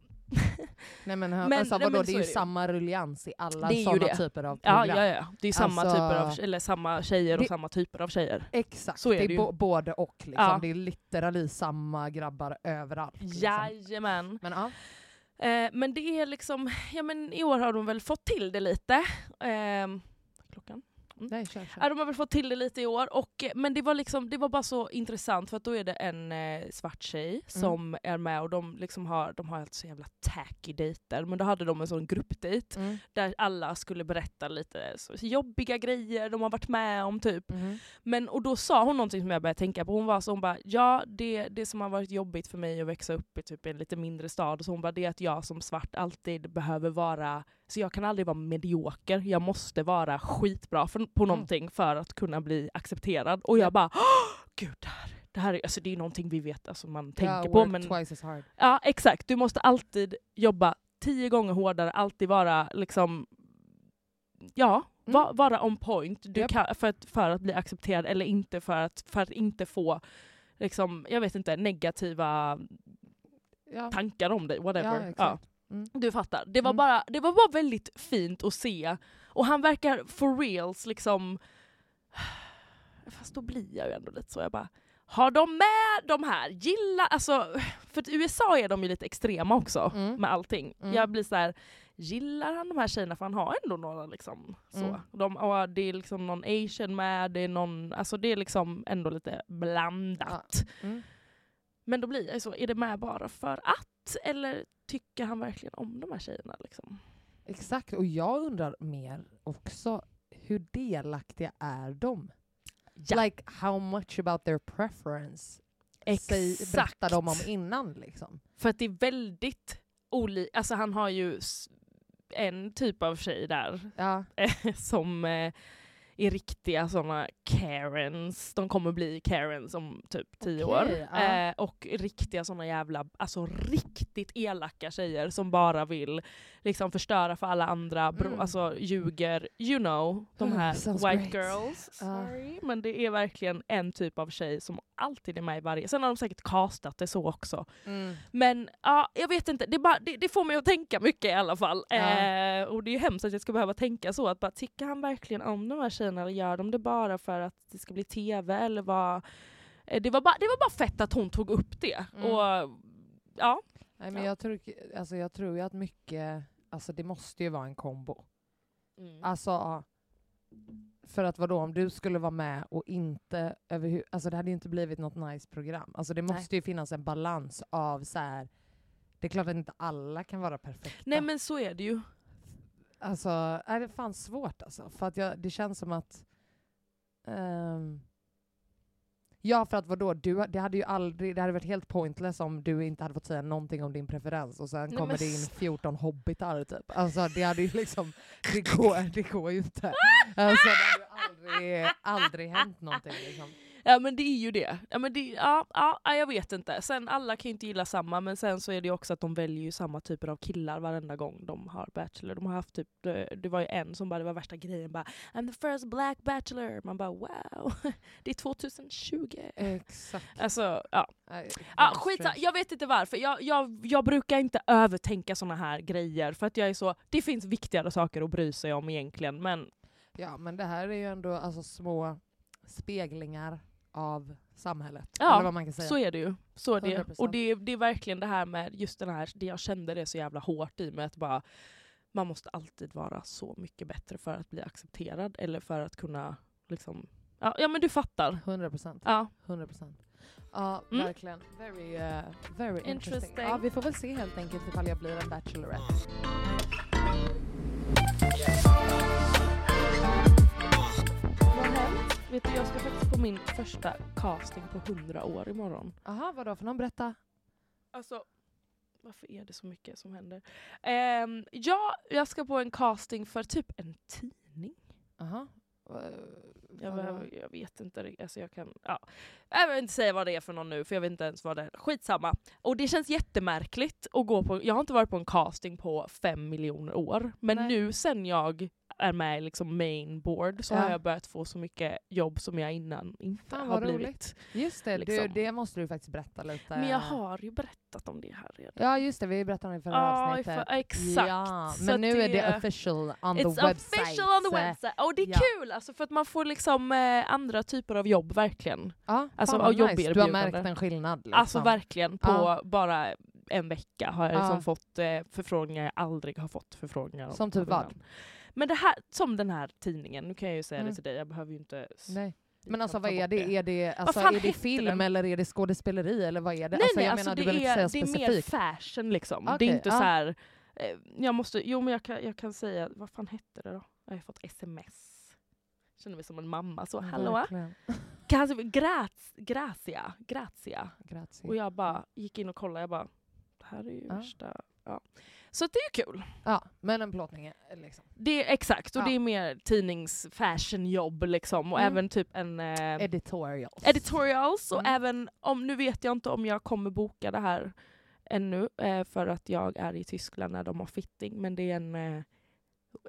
S3: Nej men, hö-
S2: Men-
S3: alltså,
S2: nej,
S3: vadå,
S2: men
S3: det är
S2: så
S3: ju
S2: är det ju.
S3: samma rullians i alla
S2: Det är ju
S3: sådana
S2: det.
S3: typer av
S2: [laughs]
S3: program.
S2: Ja, ja, ja. Det är ju samma,
S3: Alltså-
S2: typer av, eller samma tjejer och
S3: Det-
S2: samma typer av tjejer.
S3: Exakt,
S2: Så är
S3: det är
S2: det ju.
S3: bo- både och. Liksom.
S2: Ja.
S3: Det är literally samma grabbar överallt. Liksom.
S2: Jajamän.
S3: Men ja,
S2: Eh, men det är liksom, ja men i år har de väl fått till det lite. Ehm, klockan?
S3: nej kör, kör.
S2: Ja, de har väl fått till det lite i år. Och, eh, men det var, liksom, det var bara så intressant för att då är det en eh, svart tjej som är med och de, liksom har, de har alltså så jävla tacky dejter. Men då hade de en sån gruppdejt
S3: Mm.
S2: där alla skulle berätta lite så, jobbiga grejer de har varit med om typ.
S3: mhm.
S2: Men, och då sa hon någonting som jag började tänka på. Hon var så hon bara, ja det, det som har varit jobbigt för mig att växa upp i typ en lite mindre stad, så hon bara, det är att jag som svart alltid behöver vara, så jag kan aldrig vara medioker, jag måste vara skitbra för,
S3: Mm.
S2: på någonting för att kunna bli accepterad. Och jag bara, "Åh, gud det här, det här är, alltså, det är någonting vi vet, alltså, man tänker
S3: Ja,
S2: på.
S3: work
S2: Men,
S3: twice as hard.
S2: ja exakt, du måste alltid jobba tio gånger hårdare, alltid vara liksom Ja,
S3: Mm.
S2: va, vara on point du
S3: Japp.
S2: kan, för, att, för att bli accepterad eller inte för att, för att inte få liksom, jag vet inte, negativa
S3: Ja.
S2: tankar om dig.
S3: Ja,
S2: Whatever. Ja,
S3: exakt. Mm.
S2: Du fattar. Det var,
S3: Mm.
S2: bara, det var bara väldigt fint att se. Och han verkar for reals liksom... Fast då blir jag ju ändå lite så. Jag bara, har de med de här? Gilla... Alltså, för att i USA är de ju lite extrema också
S3: Mm.
S2: med allting.
S3: Mm.
S2: Jag blir så här, gillar han de här tjejerna? För han har ändå några liksom så.
S3: Mm.
S2: De, och det är liksom någon asian med, det är någon... Alltså det är liksom ändå lite blandat.
S3: Mm.
S2: Men då blir jag ju så, är det med bara för att? Eller tycker han verkligen om de här tjejerna? Liksom?
S3: Exakt, och jag undrar mer också, hur delaktiga är de?
S2: Ja.
S3: Like how much about their preference säg- berättar de om innan liksom?
S2: För att det är väldigt olika, alltså han har ju s- en typ av tjej där [laughs]
S3: Ja.
S2: som eh, är riktiga såna karens, de kommer bli karens om typ tio
S3: Okej,
S2: år.
S3: ja.
S2: Eh, och riktiga såna jävla, alltså riktigt elaka tjejer som bara vill liksom förstöra för alla andra, bro,
S3: Mm.
S2: alltså ljuger, you know, de
S3: Mm,
S2: här
S3: sounds
S2: white
S3: great.
S2: girls.
S3: Ja.
S2: Sorry. Men det är verkligen en typ av tjej som alltid är med i varje, sen har de säkert castat det så också.
S3: Mm.
S2: Men ja, jag vet inte, det, är bara, det, det får mig att tänka mycket i alla fall.
S3: Ja.
S2: Eh, och det är ju hemskt att jag ska behöva tänka så, att bara, tycker han verkligen om de här tjejerna eller gör de det bara för att det ska bli tv eller vad? Eh, Det var bara, det var bara fett att hon tog upp det.
S3: Mm.
S2: Och, ja,
S3: Nej, men
S2: Ja.
S3: jag, tror, alltså, jag tror ju att mycket, alltså det måste ju vara en kombo.
S2: mm.
S3: Alltså, för att vadå, om du skulle vara med och inte överhuvud, alltså det hade ju inte blivit något nice program. Alltså det
S2: Nej.
S3: måste ju finnas en balans av så här. det är klart att inte alla kan vara perfekta.
S2: Nej men så är det ju.
S3: Alltså, är det är fan svårt alltså. För att jag, det känns som att... ehm, ja, för att vadå? Du, det hade ju aldrig, det hade varit helt pointless om du inte hade fått säga någonting om din preferens och sen
S2: Nej,
S3: kommer
S2: men
S3: det in
S2: snälla.
S3: 14 hobbitar typ. Alltså det hade ju
S2: [laughs]
S3: liksom, det går, det går ju inte. Alltså det hade ju aldrig, aldrig hänt någonting liksom.
S2: Ja men det är ju det. Ja, men det ja, ja, ja, jag vet inte. Sen alla kan ju inte gilla samma men sen så är det ju också att de väljer ju samma typer av killar varenda gång de har Bachelor. De har haft typ, det, det var ju en som bara, det var värsta grejen bara I'm the first black bachelor. Man bara wow, [laughs] det är 2020.
S3: Exakt.
S2: Alltså ja.
S3: Nej,
S2: Ja,
S3: det är
S2: skitsa,
S3: strange.
S2: jag vet inte varför. Jag, jag, jag brukar inte övertänka såna här grejer för att jag är så, det finns viktigare saker att bry sig om egentligen men
S3: Ja, men det här är ju ändå alltså, små speglingar av samhället.
S2: Ja,
S3: eller vad man kan säga.
S2: Så är det ju. Så är det.
S3: 100%.
S2: Och det är, det är verkligen det här med just den här, det jag kände det så jävla hårt i med att bara man måste alltid vara så mycket bättre för att bli accepterad eller för att kunna liksom, ja, ja men du fattar.
S3: 100 procent.
S2: Ja,
S3: 100 procent. Ja,
S2: Mm.
S3: verkligen. Very, eh, very interesting.
S2: Interesting.
S3: Ja, vi får väl se helt enkelt ifall jag blir en bachelorette.
S2: min första casting på 100 år imorgon.
S3: Aha, vadå för någon? Berätta.
S2: Alltså, varför är det så mycket som händer? Ehm, ja, jag ska på en casting för typ en tidning.
S3: Aha. Eh,
S2: Jag,
S3: vadå?
S2: behöver, jag vet inte riktigt. Alltså jag, kan, ja. jag vill inte säga vad det är för någon nu, för jag vet inte ens vad det är. Skitsamma. Och det känns jättemärkligt att gå på... Jag har inte varit på en casting på fem miljoner år. Men
S3: Nej.
S2: nu sen jag är med i liksom mainboard så
S3: Ja.
S2: har jag börjat få så mycket jobb som jag innan inte
S3: Fan,
S2: har
S3: vad
S2: blivit.
S3: roligt. Just det, du,
S2: liksom.
S3: det måste du faktiskt berätta lite.
S2: Men jag har ju berättat om det här redan.
S3: Ja just det, vi berättade om det i förra
S2: Ja, i
S3: avsnittet.
S2: för- exakt.
S3: Ja,
S2: Så
S3: men
S2: att
S3: nu är det official on
S2: It's
S3: the website.
S2: official on the website. Och det är
S3: ja.
S2: kul alltså, för att man får liksom eh, andra typer av jobb verkligen.
S3: Ja,
S2: Alltså,
S3: fan
S2: och
S3: vad nice. Du har
S2: jobberbjudande.
S3: märkt en skillnad. Liksom.
S2: Alltså verkligen på
S3: Ja.
S2: bara en vecka har jag liksom
S3: Ja.
S2: fått eh, förfrågningar jag aldrig har fått förfrågningar om
S3: Som typ vad?
S2: innan. Men det här, som den här tidningen, nu kan jag ju säga
S3: Mm.
S2: det till dig, jag behöver ju inte... s-
S3: Nej. Men
S2: ta-
S3: alltså
S2: ta
S3: vad är
S2: bort
S3: det? Är det, alltså,
S2: fan
S3: är det
S2: hette
S3: film
S2: den?
S3: eller är det skådespeleri eller vad är det?
S2: nej
S3: alltså,
S2: nej,
S3: jag
S2: alltså,
S3: menar, du
S2: det,
S3: behöver inte
S2: är,
S3: säga
S2: det är mer
S3: specifikt.
S2: fashion liksom. det
S3: Okej,
S2: är inte
S3: ja.
S2: så här... Eh, jag måste, jo men jag kan, jag kan säga, vad fan hette det då? Jag har fått sms. Känner mig som en mamma så,
S3: Mm,
S2: hallå? [laughs]
S3: Verkligen.
S2: Graz, grazia, grazia.
S3: Grazie.
S2: Och jag bara gick in och kollade, jag bara, det här är ju
S3: Ja.
S2: värsta... Ja. Så att det är ju kul.
S3: Ja, men en plåtning är- liksom.
S2: Det är, exakt, och
S3: Ja.
S2: det är mer tidningsfashionjobb liksom. Och
S3: Mm.
S2: även typ en... Eh,
S3: Editorials.
S2: editorials och
S3: Mm.
S2: även om, nu vet jag inte om jag kommer boka det här ännu eh, för att jag är i Tyskland när de har fitting men det är en eh,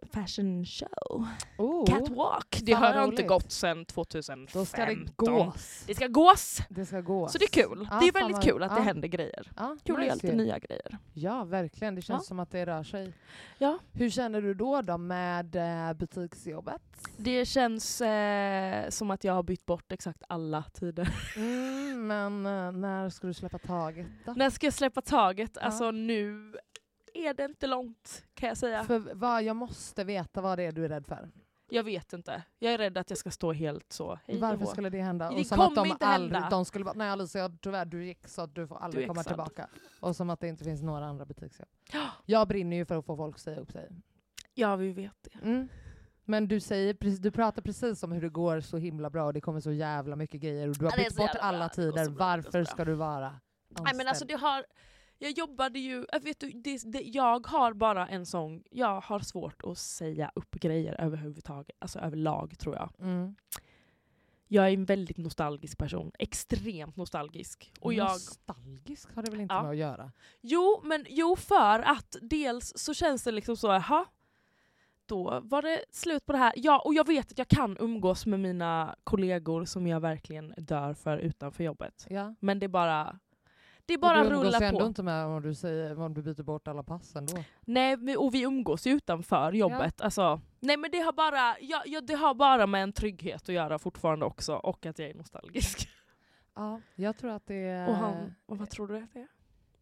S2: fashion show.
S3: oh,
S2: Catwalk! Det
S3: Fan,
S2: har
S3: vad
S2: jag inte
S3: roligt.
S2: gått sedan 2015.
S3: Då ska det gås.
S2: Det ska gås!
S3: Det ska gås.
S2: Så det är kul.
S3: Ja,
S2: det är
S3: fan
S2: väldigt
S3: vad-
S2: kul att det
S3: ja.
S2: händer grejer.
S3: Ja,
S2: Kul att göra
S3: nice
S2: lite
S3: ju.
S2: nya grejer.
S3: Ja, verkligen. Det känns
S2: Ja.
S3: som att det rör sig.
S2: Ja.
S3: Hur känner du då, då med eh, butiksjobbet?
S2: Det känns eh, som att jag har bytt bort exakt alla tider.
S3: Mm, men eh, när ska du släppa taget då?
S2: När ska jag släppa taget?
S3: Ja.
S2: Alltså nu är det inte långt kan jag säga.
S3: För vad, jag måste veta vad det är du är rädd för.
S2: Jag vet inte. Jag är rädd att jag ska stå helt så. Hej då.
S3: Varför skulle det hända?
S2: Det
S3: och som
S2: kommer
S3: att de
S2: inte
S3: aldrig,
S2: hända.
S3: De skulle bara, nej Alicia, tyvärr du gick så att du får aldrig
S2: Du är
S3: komma
S2: exad."
S3: tillbaka. Och som att det inte finns några andra butiksjobb. Jag brinner ju för att få folk att säga upp sig.
S2: Ja, vi vet det.
S3: Mm. Men du, säger, precis- du pratar precis om hur det går så himla bra och det kommer så jävla mycket grejer och du
S2: Ja,
S3: har
S2: det är
S3: bytt
S2: så
S3: bort
S2: jävla bra.
S3: alla
S2: Det går
S3: tider.
S2: så bra, det går så bra.
S3: Varför ska du vara anställd?
S2: Nej, men alltså, det har, jag jobbade ju... Jag, vet du, det, det, jag har bara en sån... Jag har svårt att säga upp grejer överhuvudtaget. Alltså överlag tror jag.
S3: mm.
S2: Jag är en väldigt nostalgisk person. Extremt nostalgisk. Och
S3: Mm.
S2: jag,
S3: Nostalgisk har det väl inte
S2: Ja.
S3: med att göra?
S2: jo, men jo för att dels så känns det liksom så, jaha. Då var det slut på det här. Ja, och jag vet att jag kan umgås med mina kollegor som jag verkligen dör för utanför jobbet.
S3: Ja.
S2: Men det är bara... Det är
S3: Och
S2: bara
S3: du umgås ju
S2: rulla
S3: ändå
S2: på.
S3: inte med om du, säger, om du byter bort alla pass ändå.
S2: Nej, men- och vi umgås ju utanför jobbet. Alltså, nej men det har, bara, ja, ja, det har bara med en trygghet att göra fortfarande också, och att jag är nostalgisk.
S3: [laughs] Ja, jag tror att det är...
S2: Och han, och
S3: Eh.
S2: vad tror du att det är?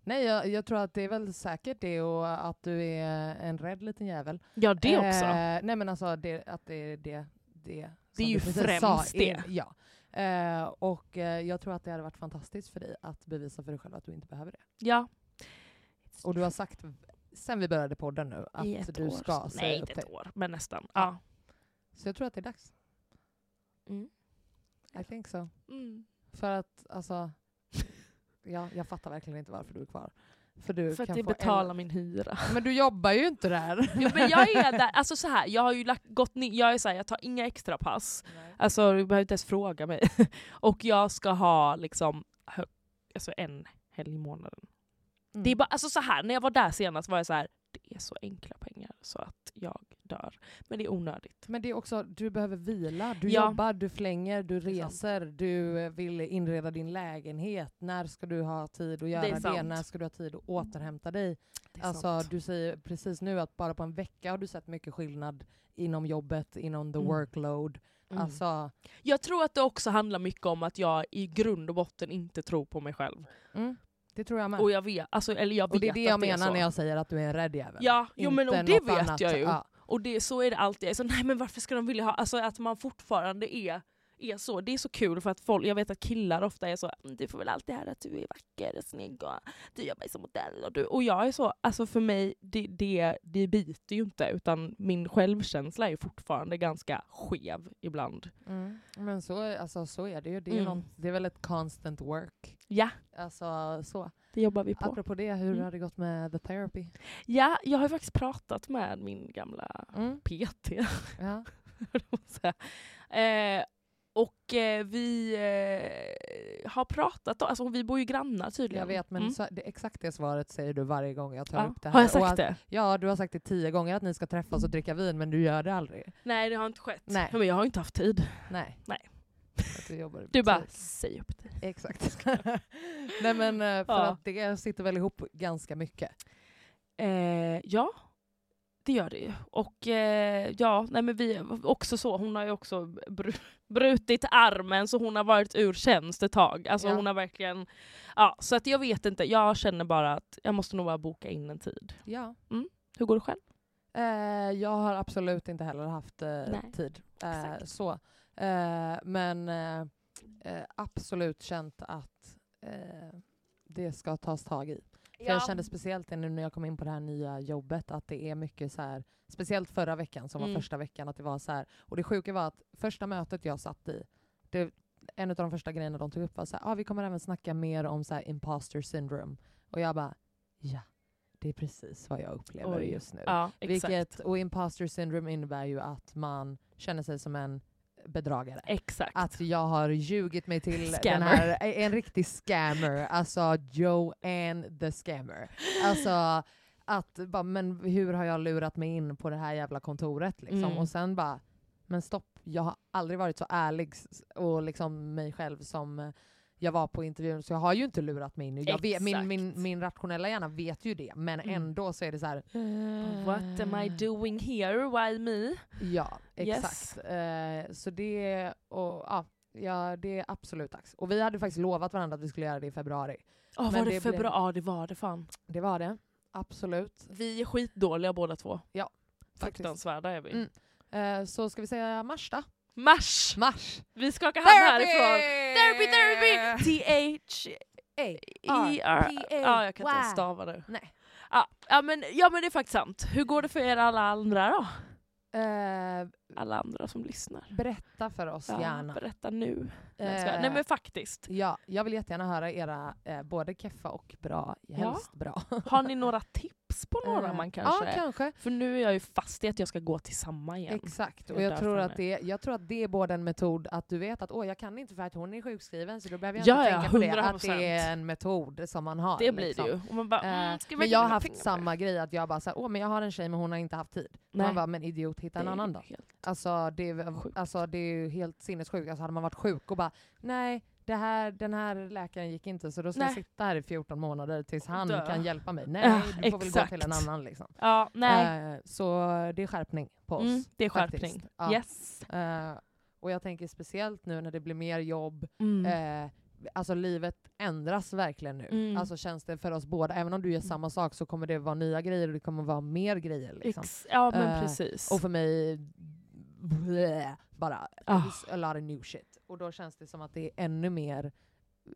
S3: Nej, jag, jag tror att det är väl säkert det och att du är en rädd liten jävel.
S2: Ja det
S3: Eh,
S2: också.
S3: nej men alltså det, att det är det, det, som
S2: Det är
S3: du
S2: ju
S3: precis
S2: främst
S3: är-
S2: det.
S3: Ja. Eh, och eh, jag tror att det hade varit fantastiskt för dig att bevisa för dig själv att du inte behöver det.
S2: Ja.
S3: Och du har sagt sen vi började podden nu att
S2: I ett
S3: du
S2: år.
S3: ska säga
S2: Nej
S3: upp
S2: inte
S3: dig.
S2: ett år, men nästan. typ. Ja.
S3: Så jag tror att det är dags.
S2: Mm.
S3: I think so.
S2: Mm.
S3: För att
S2: [laughs]
S3: alltså, ja, jag fattar verkligen inte varför du är kvar. För, du
S2: För att
S3: kan
S2: det
S3: få en-
S2: betalar min hyra.
S3: Men du jobbar ju inte där.
S2: [laughs] Jo, men jag
S3: [laughs]
S2: är där, alltså så här, jag har ju lagt, gått ner, jag är så här, jag tar inga extra pass. Alltså du behöver inte ens fråga mig. [laughs] Och jag ska ha liksom hö- alltså, en helg i månaden.
S3: Mm.
S2: Det är bara, alltså så här, när jag var där senast var jag så här, det är så enkla pengar så att jag dör. Men det är onödigt.
S3: Men det är också, du behöver vila, du
S2: Ja.
S3: jobbar, du flänger, du
S2: Det är sant.
S3: reser, du eh, vill inreda din lägenhet. När ska du ha tid att göra det?
S2: sant.
S3: När ska du ha tid att återhämta dig?
S2: Det är
S3: Alltså,
S2: sant.
S3: du säger precis nu att bara på en vecka har du sett mycket skillnad inom jobbet, inom the
S2: Mm.
S3: workload.
S2: Mm.
S3: Alltså,
S2: Jag tror att det också handlar mycket om att jag i grund och botten inte tror på mig själv.
S3: mm, det tror jag med.
S2: Och jag vet, alltså, eller jag vet
S3: Och det är det jag
S2: att det är
S3: menar
S2: så.
S3: när jag säger att du är en rädd jävel.
S2: Ja, jo, men och
S3: Inte
S2: det
S3: något
S2: vet
S3: annat.
S2: jag ju.
S3: Ja.
S2: Och det, så är det alltid. Alltså, nej men varför ska de vilja ha... Alltså att man fortfarande är är så. Det är så kul för att folk, jag vet att killar ofta är så "Mm, du får väl alltid höra att du är vacker och snygg och du jobbar som modell och du... Och jag är så, alltså för mig, det, det, det biter ju inte utan min självkänsla är fortfarande ganska skev ibland.
S3: Mm. Men så, är- alltså, så är det ju. Det är,
S2: Mm.
S3: någon, det är väl ett constant work.
S2: Ja,
S3: Alltså så.
S2: det jobbar vi på.
S3: Apropå det, hur
S2: Mm.
S3: har det gått med the therapy?
S2: Ja, jag har ju faktiskt pratat med min gamla
S3: Mm.
S2: PT.
S3: Ja.
S2: höll [laughs] jag på att säga. eh, och eh, vi eh, har pratat, om- alltså vi bor ju grannar tydligen.
S3: Jag vet, men
S2: Mm.
S3: så, det, exakt det svaret säger du varje gång jag tar
S2: Ja.
S3: upp det här.
S2: Har jag
S3: Och
S2: sagt
S3: att,
S2: det?
S3: Ja, du har sagt det tio gånger att ni ska träffas och dricka vin, men du gör det aldrig.
S2: Nej det har inte skett.
S3: Nej.
S2: Men jag har inte haft tid.
S3: Nej.
S2: Nej.
S3: Att du jobbar i
S2: Du
S3: butik.
S2: bara, säg upp dig.
S3: Exakt. [laughs] Nej men eh, för
S2: Ja.
S3: att det sitter väl ihop ganska mycket.
S2: Eh, ja, det gör det ju. Och eh, ja, nej men vi också så, hon har ju också br- brutit armen så hon har varit ur tjänst ett tag. Alltså
S3: Ja.
S2: hon har verkligen, ja så att jag vet inte, jag känner bara att jag måste nog bara boka in en tid.
S3: Ja.
S2: Hur går det själv?
S3: Eh, jag har absolut inte heller haft eh,
S2: Nej,
S3: tid. Eh,
S2: exakt.
S3: så. Eh, men eh, eh, absolut känt att eh, det ska tas tag i. För Jag kände speciellt det nu när jag kom in på det här nya jobbet att det är mycket så här, speciellt förra veckan som var
S2: Mm.
S3: första veckan, att det var så här. Och det sjuka var att första mötet jag satt i, det, en av de första grejerna de tog upp var så här, ah, vi kommer även snacka mer om så här imposter syndrome. Och jag bara, ja, det är precis vad jag upplever
S2: Oj.
S3: just nu.
S2: ja, exakt.
S3: Vilket, och imposter syndrome innebär ju att man känner sig som en bedragare.
S2: Exakt.
S3: Att jag har ljugit mig till den
S2: Scammer.
S3: här, eh, en riktig scammer. Alltså Joanne the scammer. Alltså att, bara, men hur har jag lurat mig in på det här jävla kontoret liksom?
S2: Mm.
S3: Och sen bara, men stopp, jag har aldrig varit så ärlig s- och liksom mig själv som jag var på intervjun, så jag har ju inte lurat mig in. Jag vet, min, min,
S2: Exakt.
S3: min rationella hjärna vet ju det, men
S2: Mm.
S3: ändå så är det så här.
S2: What am I doing here? Why me?
S3: Ja,
S2: Yes.
S3: exakt. Eh, så det, och, ja, ja, det är absolut dags. Och vi hade faktiskt lovat varandra att vi skulle göra det i februari.
S2: Oh,
S3: Men
S2: var det,
S3: det
S2: för
S3: blev-
S2: bra? Ja det var det fan.
S3: Det var det. Absolut.
S2: Vi är skitdåliga båda två.
S3: Ja, faktiskt.
S2: Fruktansvärda är vi.
S3: Mm. Eh, så ska vi säga mars då?
S2: Mars!
S3: Mars!
S2: Vi skakar hand härifrån. Therapy, therapy! T-H... E-R... E Ja, jag kan inte ens stava det.
S3: Nej.
S2: Ja, ja, men, ja men det är faktiskt sant. Hur går det för er alla andra då?
S3: Eh,
S2: Alla andra som lyssnar.
S3: berätta för oss
S2: Ja,
S3: gärna.
S2: Berätta nu. Nej, jag skojar. Nej
S3: Eh,
S2: men faktiskt.
S3: Ja, jag vill jättegärna höra era eh, både keffa och bra, helst bra.
S2: Har ni några tips på några
S3: [laughs] Eh,
S2: man kanske?
S3: Ja, kanske.
S2: För nu är jag ju fast i att jag ska gå till samma igen.
S3: Exakt,
S2: Det är
S3: och jag
S2: därför
S3: tror,
S2: hon
S3: att
S2: är-
S3: det, jag tror att det är både en metod att du vet att åh, jag kan inte för att hon är sjukskriven så då behöver jag
S2: Ja,
S3: inte
S2: ja,
S3: tänka på det. Att
S2: 100%.
S3: det är en metod som man har.
S2: Det blir
S3: liksom.
S2: det ju. Och man bara,
S3: Eh,
S2: mm, ska vi
S3: men jag har
S2: verkligen
S3: haft
S2: pengar på
S3: samma grej, att jag bara såhär, åh men jag har en tjej men hon har inte haft tid.
S2: Nej.
S3: Man bara, men idiot hitta
S2: det?
S3: en
S2: Det är
S3: annan
S2: ju
S3: då.
S2: helt-
S3: Alltså det, är,
S2: Sjukt.
S3: alltså det är ju helt sinnessjukt. Alltså hade man varit sjuk och bara, nej det här, den här läkaren gick inte så då ska jag
S2: Nej.
S3: sitta här i 14 månader tills
S2: Och
S3: han
S2: dö.
S3: kan hjälpa mig. Nej,
S2: Ja,
S3: du får väl gå till en
S2: exakt.
S3: annan liksom.
S2: Ja, nej.
S3: Eh, så det är skärpning på oss.
S2: mm, det är
S3: faktiskt.
S2: skärpning.
S3: Ja.
S2: Yes.
S3: Eh, och jag tänker speciellt nu när det blir mer jobb,
S2: Mm.
S3: eh, alltså livet ändras verkligen nu.
S2: Mm.
S3: Alltså känns det för oss båda, även om du gör samma sak så kommer det vara nya grejer och det kommer vara mer grejer. Liksom.
S2: Ex- ja men
S3: eh,
S2: precis.
S3: Och för mig, bleh, bara
S2: Ah.
S3: it's a lot of new shit. Och då känns det som att det är ännu mer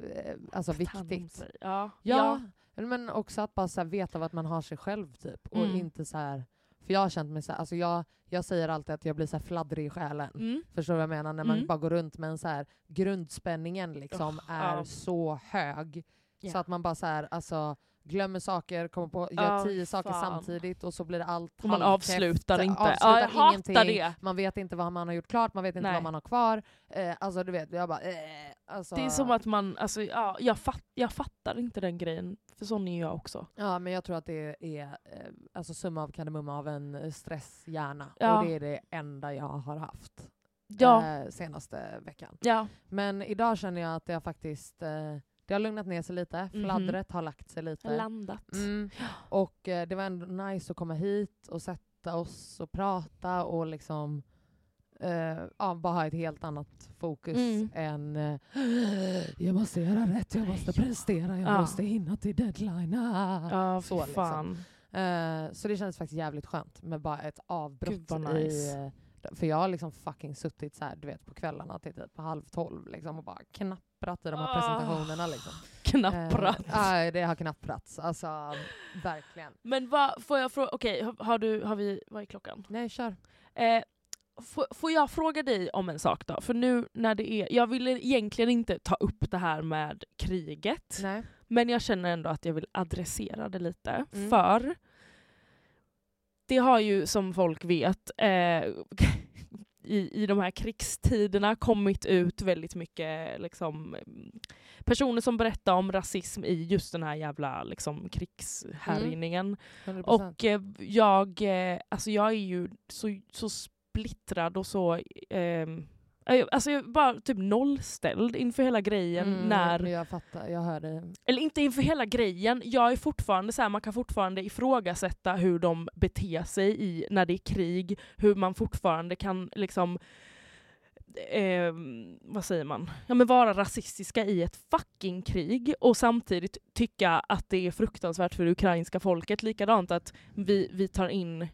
S3: eh, alltså
S2: Att ta hand om
S3: viktigt.
S2: sig. Ja.
S3: Ja, men också att bara så här veta vad man har sig själv typ. Och
S2: Mm.
S3: inte så här, för jag har känt mig så här, alltså jag, jag säger alltid att jag blir så här fladdrig i själen.
S2: Mm.
S3: Förstår du vad jag menar? När man
S2: Mm.
S3: bara går runt med en så här grundspänningen liksom
S2: Ugh,
S3: är
S2: ja.
S3: så hög.
S2: Ja.
S3: Så att man bara så här, alltså, glömmer saker, kommer på, gör
S2: Ja,
S3: tio saker
S2: fan.
S3: samtidigt och så blir det allt
S2: Och man
S3: halvkräft,
S2: avslutar inte. ja, jag
S3: Avslutar
S2: hatar
S3: ingenting.
S2: det.
S3: Man vet inte vad man har gjort klart, man vet inte
S2: Nej.
S3: vad man har kvar. Eh, alltså du vet, jag bara... Eh, alltså,
S2: Det är som att man, alltså, ja, jag, fatt, jag fattar inte den grejen, för sån är jag också.
S3: Ja men jag tror att det är eh, alltså, summa av kardemumma av en eh, stresshjärna.
S2: Ja.
S3: Och det är det enda jag har haft
S2: Ja,
S3: eh, senaste veckan.
S2: ja.
S3: Men idag känner jag att det har faktiskt eh, det har lugnat ner sig lite.
S2: Mhm.
S3: Fladdret har lagt sig lite.
S2: landat. [gasps]
S3: Mm. Och eh, det var ändå nice att komma hit och sätta oss och prata och liksom eh, ja, bara ha ett helt annat fokus
S2: Mm.
S3: än eh, [gasps] jag måste göra rätt, jag måste prestera, jag
S2: Ja.
S3: måste hinna till deadline. Ah.
S2: Ja, fy
S3: så liksom.
S2: fan.
S3: Eh, så det kändes faktiskt jävligt skönt med bara ett avbrott
S2: Gud, vad nice.
S3: i eh, För jag har liksom fucking suttit så här, du vet på kvällarna till typ halv tolv liksom, och bara knapprat i de här
S2: Ah. [laughs]
S3: presentationerna. Liksom.
S2: Knapprat.
S3: Eh, eh, det har knapprats. Alltså, verkligen.
S2: Men vad, får jag fråga, okej, har, har du, har vi, vad är klockan?
S3: Nej, kör.
S2: Eh, får, får jag fråga dig om en sak då? För nu när det är, jag ville egentligen inte ta upp det här med kriget.
S3: Nej.
S2: Men jag känner ändå att jag vill adressera det lite.
S3: Mm.
S2: För det har ju som folk vet eh, [laughs] i, i de här krigstiderna kommit ut väldigt mycket liksom, mm, personer som berättar om rasism i just den här jävla liksom,
S3: Mm.
S2: krigshärjningen.
S3: 100%.
S2: Och eh, jag, eh, alltså jag är ju så, så splittrad och så... ehm, eh, alltså jag är bara typ nollställd inför hela grejen
S3: Mm,
S2: när
S3: jag- Jag fattar, jag hör dig.
S2: eller inte inför hela grejen, jag är fortfarande så här, man kan fortfarande ifrågasätta hur de beter sig i, när det är krig, hur man fortfarande kan liksom Eh, vad säger man? Ja, men vara rasistiska i ett fucking krig och samtidigt tycka att det är fruktansvärt för det ukrainska folket. Likadant att vi, vi tar in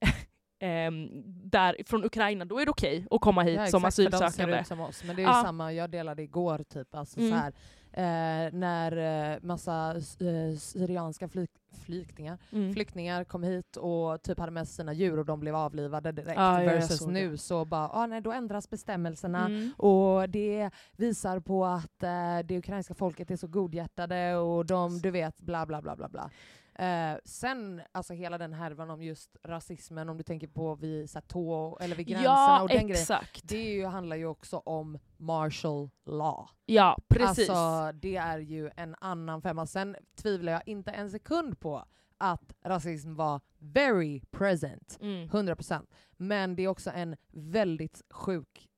S2: [laughs] ehm, där från Ukraina, då är det okej att komma hit
S3: Ja,
S2: som
S3: exakt, för de ser
S2: asylsökande.
S3: ut som oss. Men det är ju
S2: Ja.
S3: samma, jag delade igår typ, alltså
S2: Mm.
S3: så här, eh, när eh, massa eh, syrianska flyk- flyktingar,
S2: Mm.
S3: flyktingar kom hit och typ hade med sig sina djur och de blev avlivade direkt.
S2: Ja, ja, jag
S3: versus
S2: såg det.
S3: nu så bara, ah, nej då ändras bestämmelserna.
S2: Mm.
S3: Och det visar på att eh, det ukrainska folket är så godhjärtade och de, du vet, bla bla bla bla bla. Eh, sen, alltså hela den härvan om just rasismen, om du tänker på vid så här, tå, eller vid gränserna
S2: Ja,
S3: och den grejen.
S2: exakt.
S3: Det är ju, handlar ju också om martial law.
S2: Ja, precis.
S3: Alltså det är ju en annan femma. Sen tvivlar jag inte en sekund på att rasism var very present.
S2: Mm.
S3: 100%. Men det är också en väldigt sjuk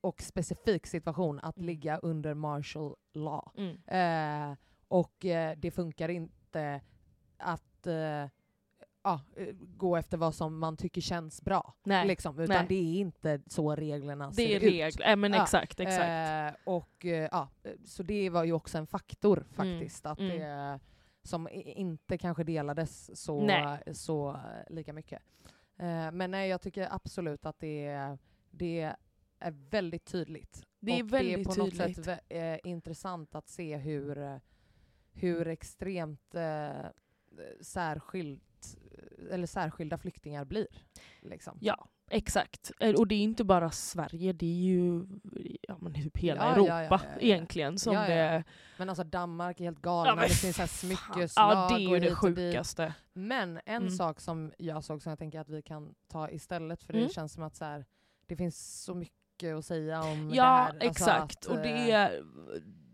S3: och specifik situation att
S2: Mm.
S3: ligga under martial law.
S2: Mm.
S3: Eh, och eh, det funkar inte att eh, ja, eh, gå efter vad som man tycker känns bra.
S2: Nej,
S3: Liksom, utan
S2: nej.
S3: det är inte så reglerna
S2: det är
S3: ser ut.
S2: regler. Ja, men
S3: Ja,
S2: exakt, exakt.
S3: Eh, och, eh, ja, så det var ju också en faktor faktiskt, att
S2: mm.
S3: det, som i- inte kanske delades så,
S2: Nej.
S3: så eh, lika mycket. Eh, men nej, jag tycker absolut att det, är- det är väldigt tydligt.
S2: Det är
S3: och
S2: väldigt
S3: det är på något
S2: tydligt.
S3: sätt vä- eh, intressant att se hur, eh, hur extremt eh, särskilt, eller särskilda flyktingar blir. Liksom.
S2: Ja, exakt. Eh, Och det är inte bara Sverige, det är ju ja, men typ hela
S3: Ja, ja,
S2: Europa
S3: ja, ja, ja.
S2: egentligen. Som
S3: Ja, ja.
S2: Det,
S3: Men alltså Danmark är helt
S2: Ja,
S3: galna,
S2: men
S3: det finns så här smyckeslag
S2: ja, det är
S3: och
S2: ju
S3: hit
S2: det
S3: och dit.
S2: sjukaste.
S3: Men en
S2: Mm.
S3: sak som jag såg som jag tänker att vi kan ta istället, för
S2: Mm.
S3: det känns som att så här, det finns så mycket att säga om det
S2: Ja,
S3: här. alltså
S2: exakt.
S3: att,
S2: och det
S3: eh,
S2: är,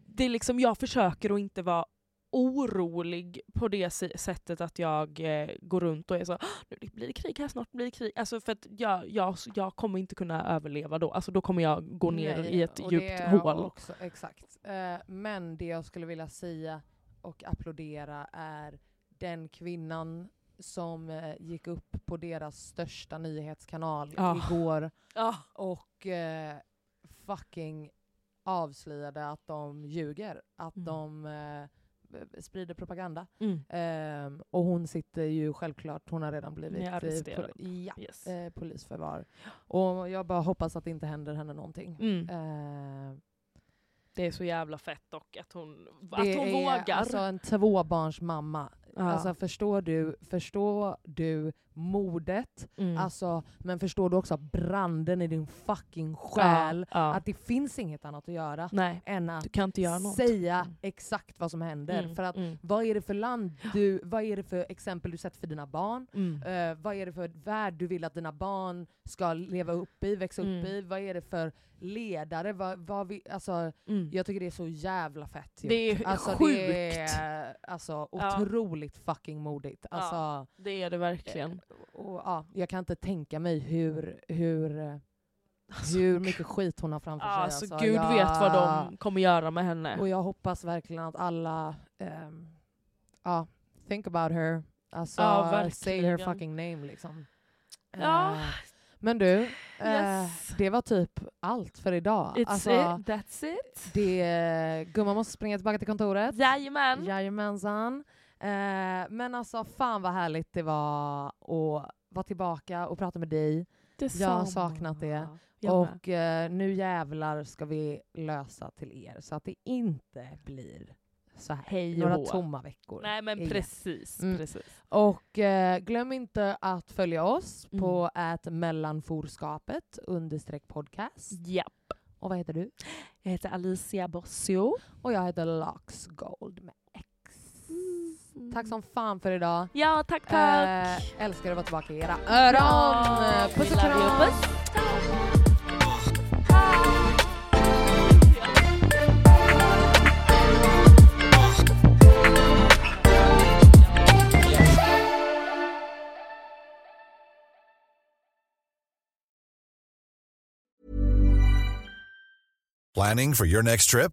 S2: det är liksom, jag försöker att inte vara orolig på det si- sättet att jag eh, går runt och är så "Ah, nu blir det krig här, snart blir det krig. Alltså för att jag, jag, jag kommer inte kunna överleva då. Alltså då kommer jag gå ner
S3: nej,
S2: i ett
S3: och
S2: djupt
S3: det är
S2: hål.
S3: Också, exakt. Eh, men det jag skulle vilja säga och applådera är den kvinnan som eh, gick upp på deras största nyhetskanal
S2: Ja.
S3: igår
S2: Ja.
S3: och eh, fucking avslöjade att de ljuger, att
S2: Mm.
S3: de eh, b- sprider propaganda.
S2: Mm.
S3: Ehm, och hon sitter ju självklart, hon har redan blivit
S2: Ni är
S3: eh,
S2: arresterad.
S3: pol- ja,
S2: Yes.
S3: eh, polisförvar. Och jag bara hoppas att det inte händer henne någonting.
S2: Mm.
S3: Ehm,
S2: Det är så jävla fett dock att hon,
S3: det
S2: att hon
S3: är
S2: vågar.
S3: alltså en tvåbarnsmamma.
S2: Ja.
S3: Alltså förstår du, förstår du modet,
S2: Mm.
S3: alltså, men förstår du också branden i din fucking
S2: Ja,
S3: själ?
S2: ja. Mm.
S3: Att det finns inget annat att göra
S2: Nej,
S3: än att
S2: du kan inte göra något.
S3: säga
S2: Mm.
S3: exakt vad som händer.
S2: Mm,
S3: För att
S2: mm,
S3: vad är det för land du, vad är det för exempel du sätter för dina barn?
S2: mm.
S3: Eh, vad är det för värld du vill att dina barn ska leva upp i, växa
S2: Mm.
S3: upp i? Vad är det för ledare? Vad, vad vi, alltså,
S2: Mm.
S3: jag tycker det är så jävla fett gjort.
S2: Det är
S3: alltså,
S2: sjukt.
S3: Det är alltså,
S2: Ja.
S3: otroligt fucking modigt.
S2: Ja.
S3: Alltså,
S2: Det är det
S3: Eh,
S2: verkligen.
S3: och, ja, jag kan inte tänka mig hur, hur, eh, hur mycket skit hon har framför sig.
S2: Alltså, gud vet vad
S3: jag-
S2: de kommer göra med henne.
S3: och jag hoppas verkligen att alla, ehm, ja, think about her. Alltså,
S2: Ja, verkligen.
S3: say her fucking name liksom.
S2: Ja.
S3: Eh, men du, eh,
S2: Yes.
S3: det var typ allt för idag.
S2: It's
S3: Alltså,
S2: it, that's it.
S3: det, gumman måste springa tillbaka till kontoret.
S2: Jajamän.
S3: Jajamensan. Eh, men alltså fan vad härligt det var att vara tillbaka och prata med dig. Jag har saknat det.
S2: Jag med.
S3: och eh, nu jävlar ska vi lösa till er så att det inte blir så här.
S2: Hej och
S3: några
S2: hå.
S3: tomma veckor.
S2: Nej men
S3: igen.
S2: precis.
S3: Mm.
S2: precis.
S3: Och eh, glöm inte att följa oss
S2: Mm.
S3: på ät mellanforskapet understreck podcast.
S2: Ja.
S3: Och vad heter du?
S2: Jag heter Alicia Bossio.
S3: Och jag heter Lax Gold med X. Mm. Tack som fan för idag.
S2: Ja, tack tack.
S3: Eh, älskar att vara tillbaka i era öron.
S2: Ja,
S3: Puss
S2: we
S3: och
S2: love you.
S3: kram.
S2: Puss.
S4: Planning for your next trip?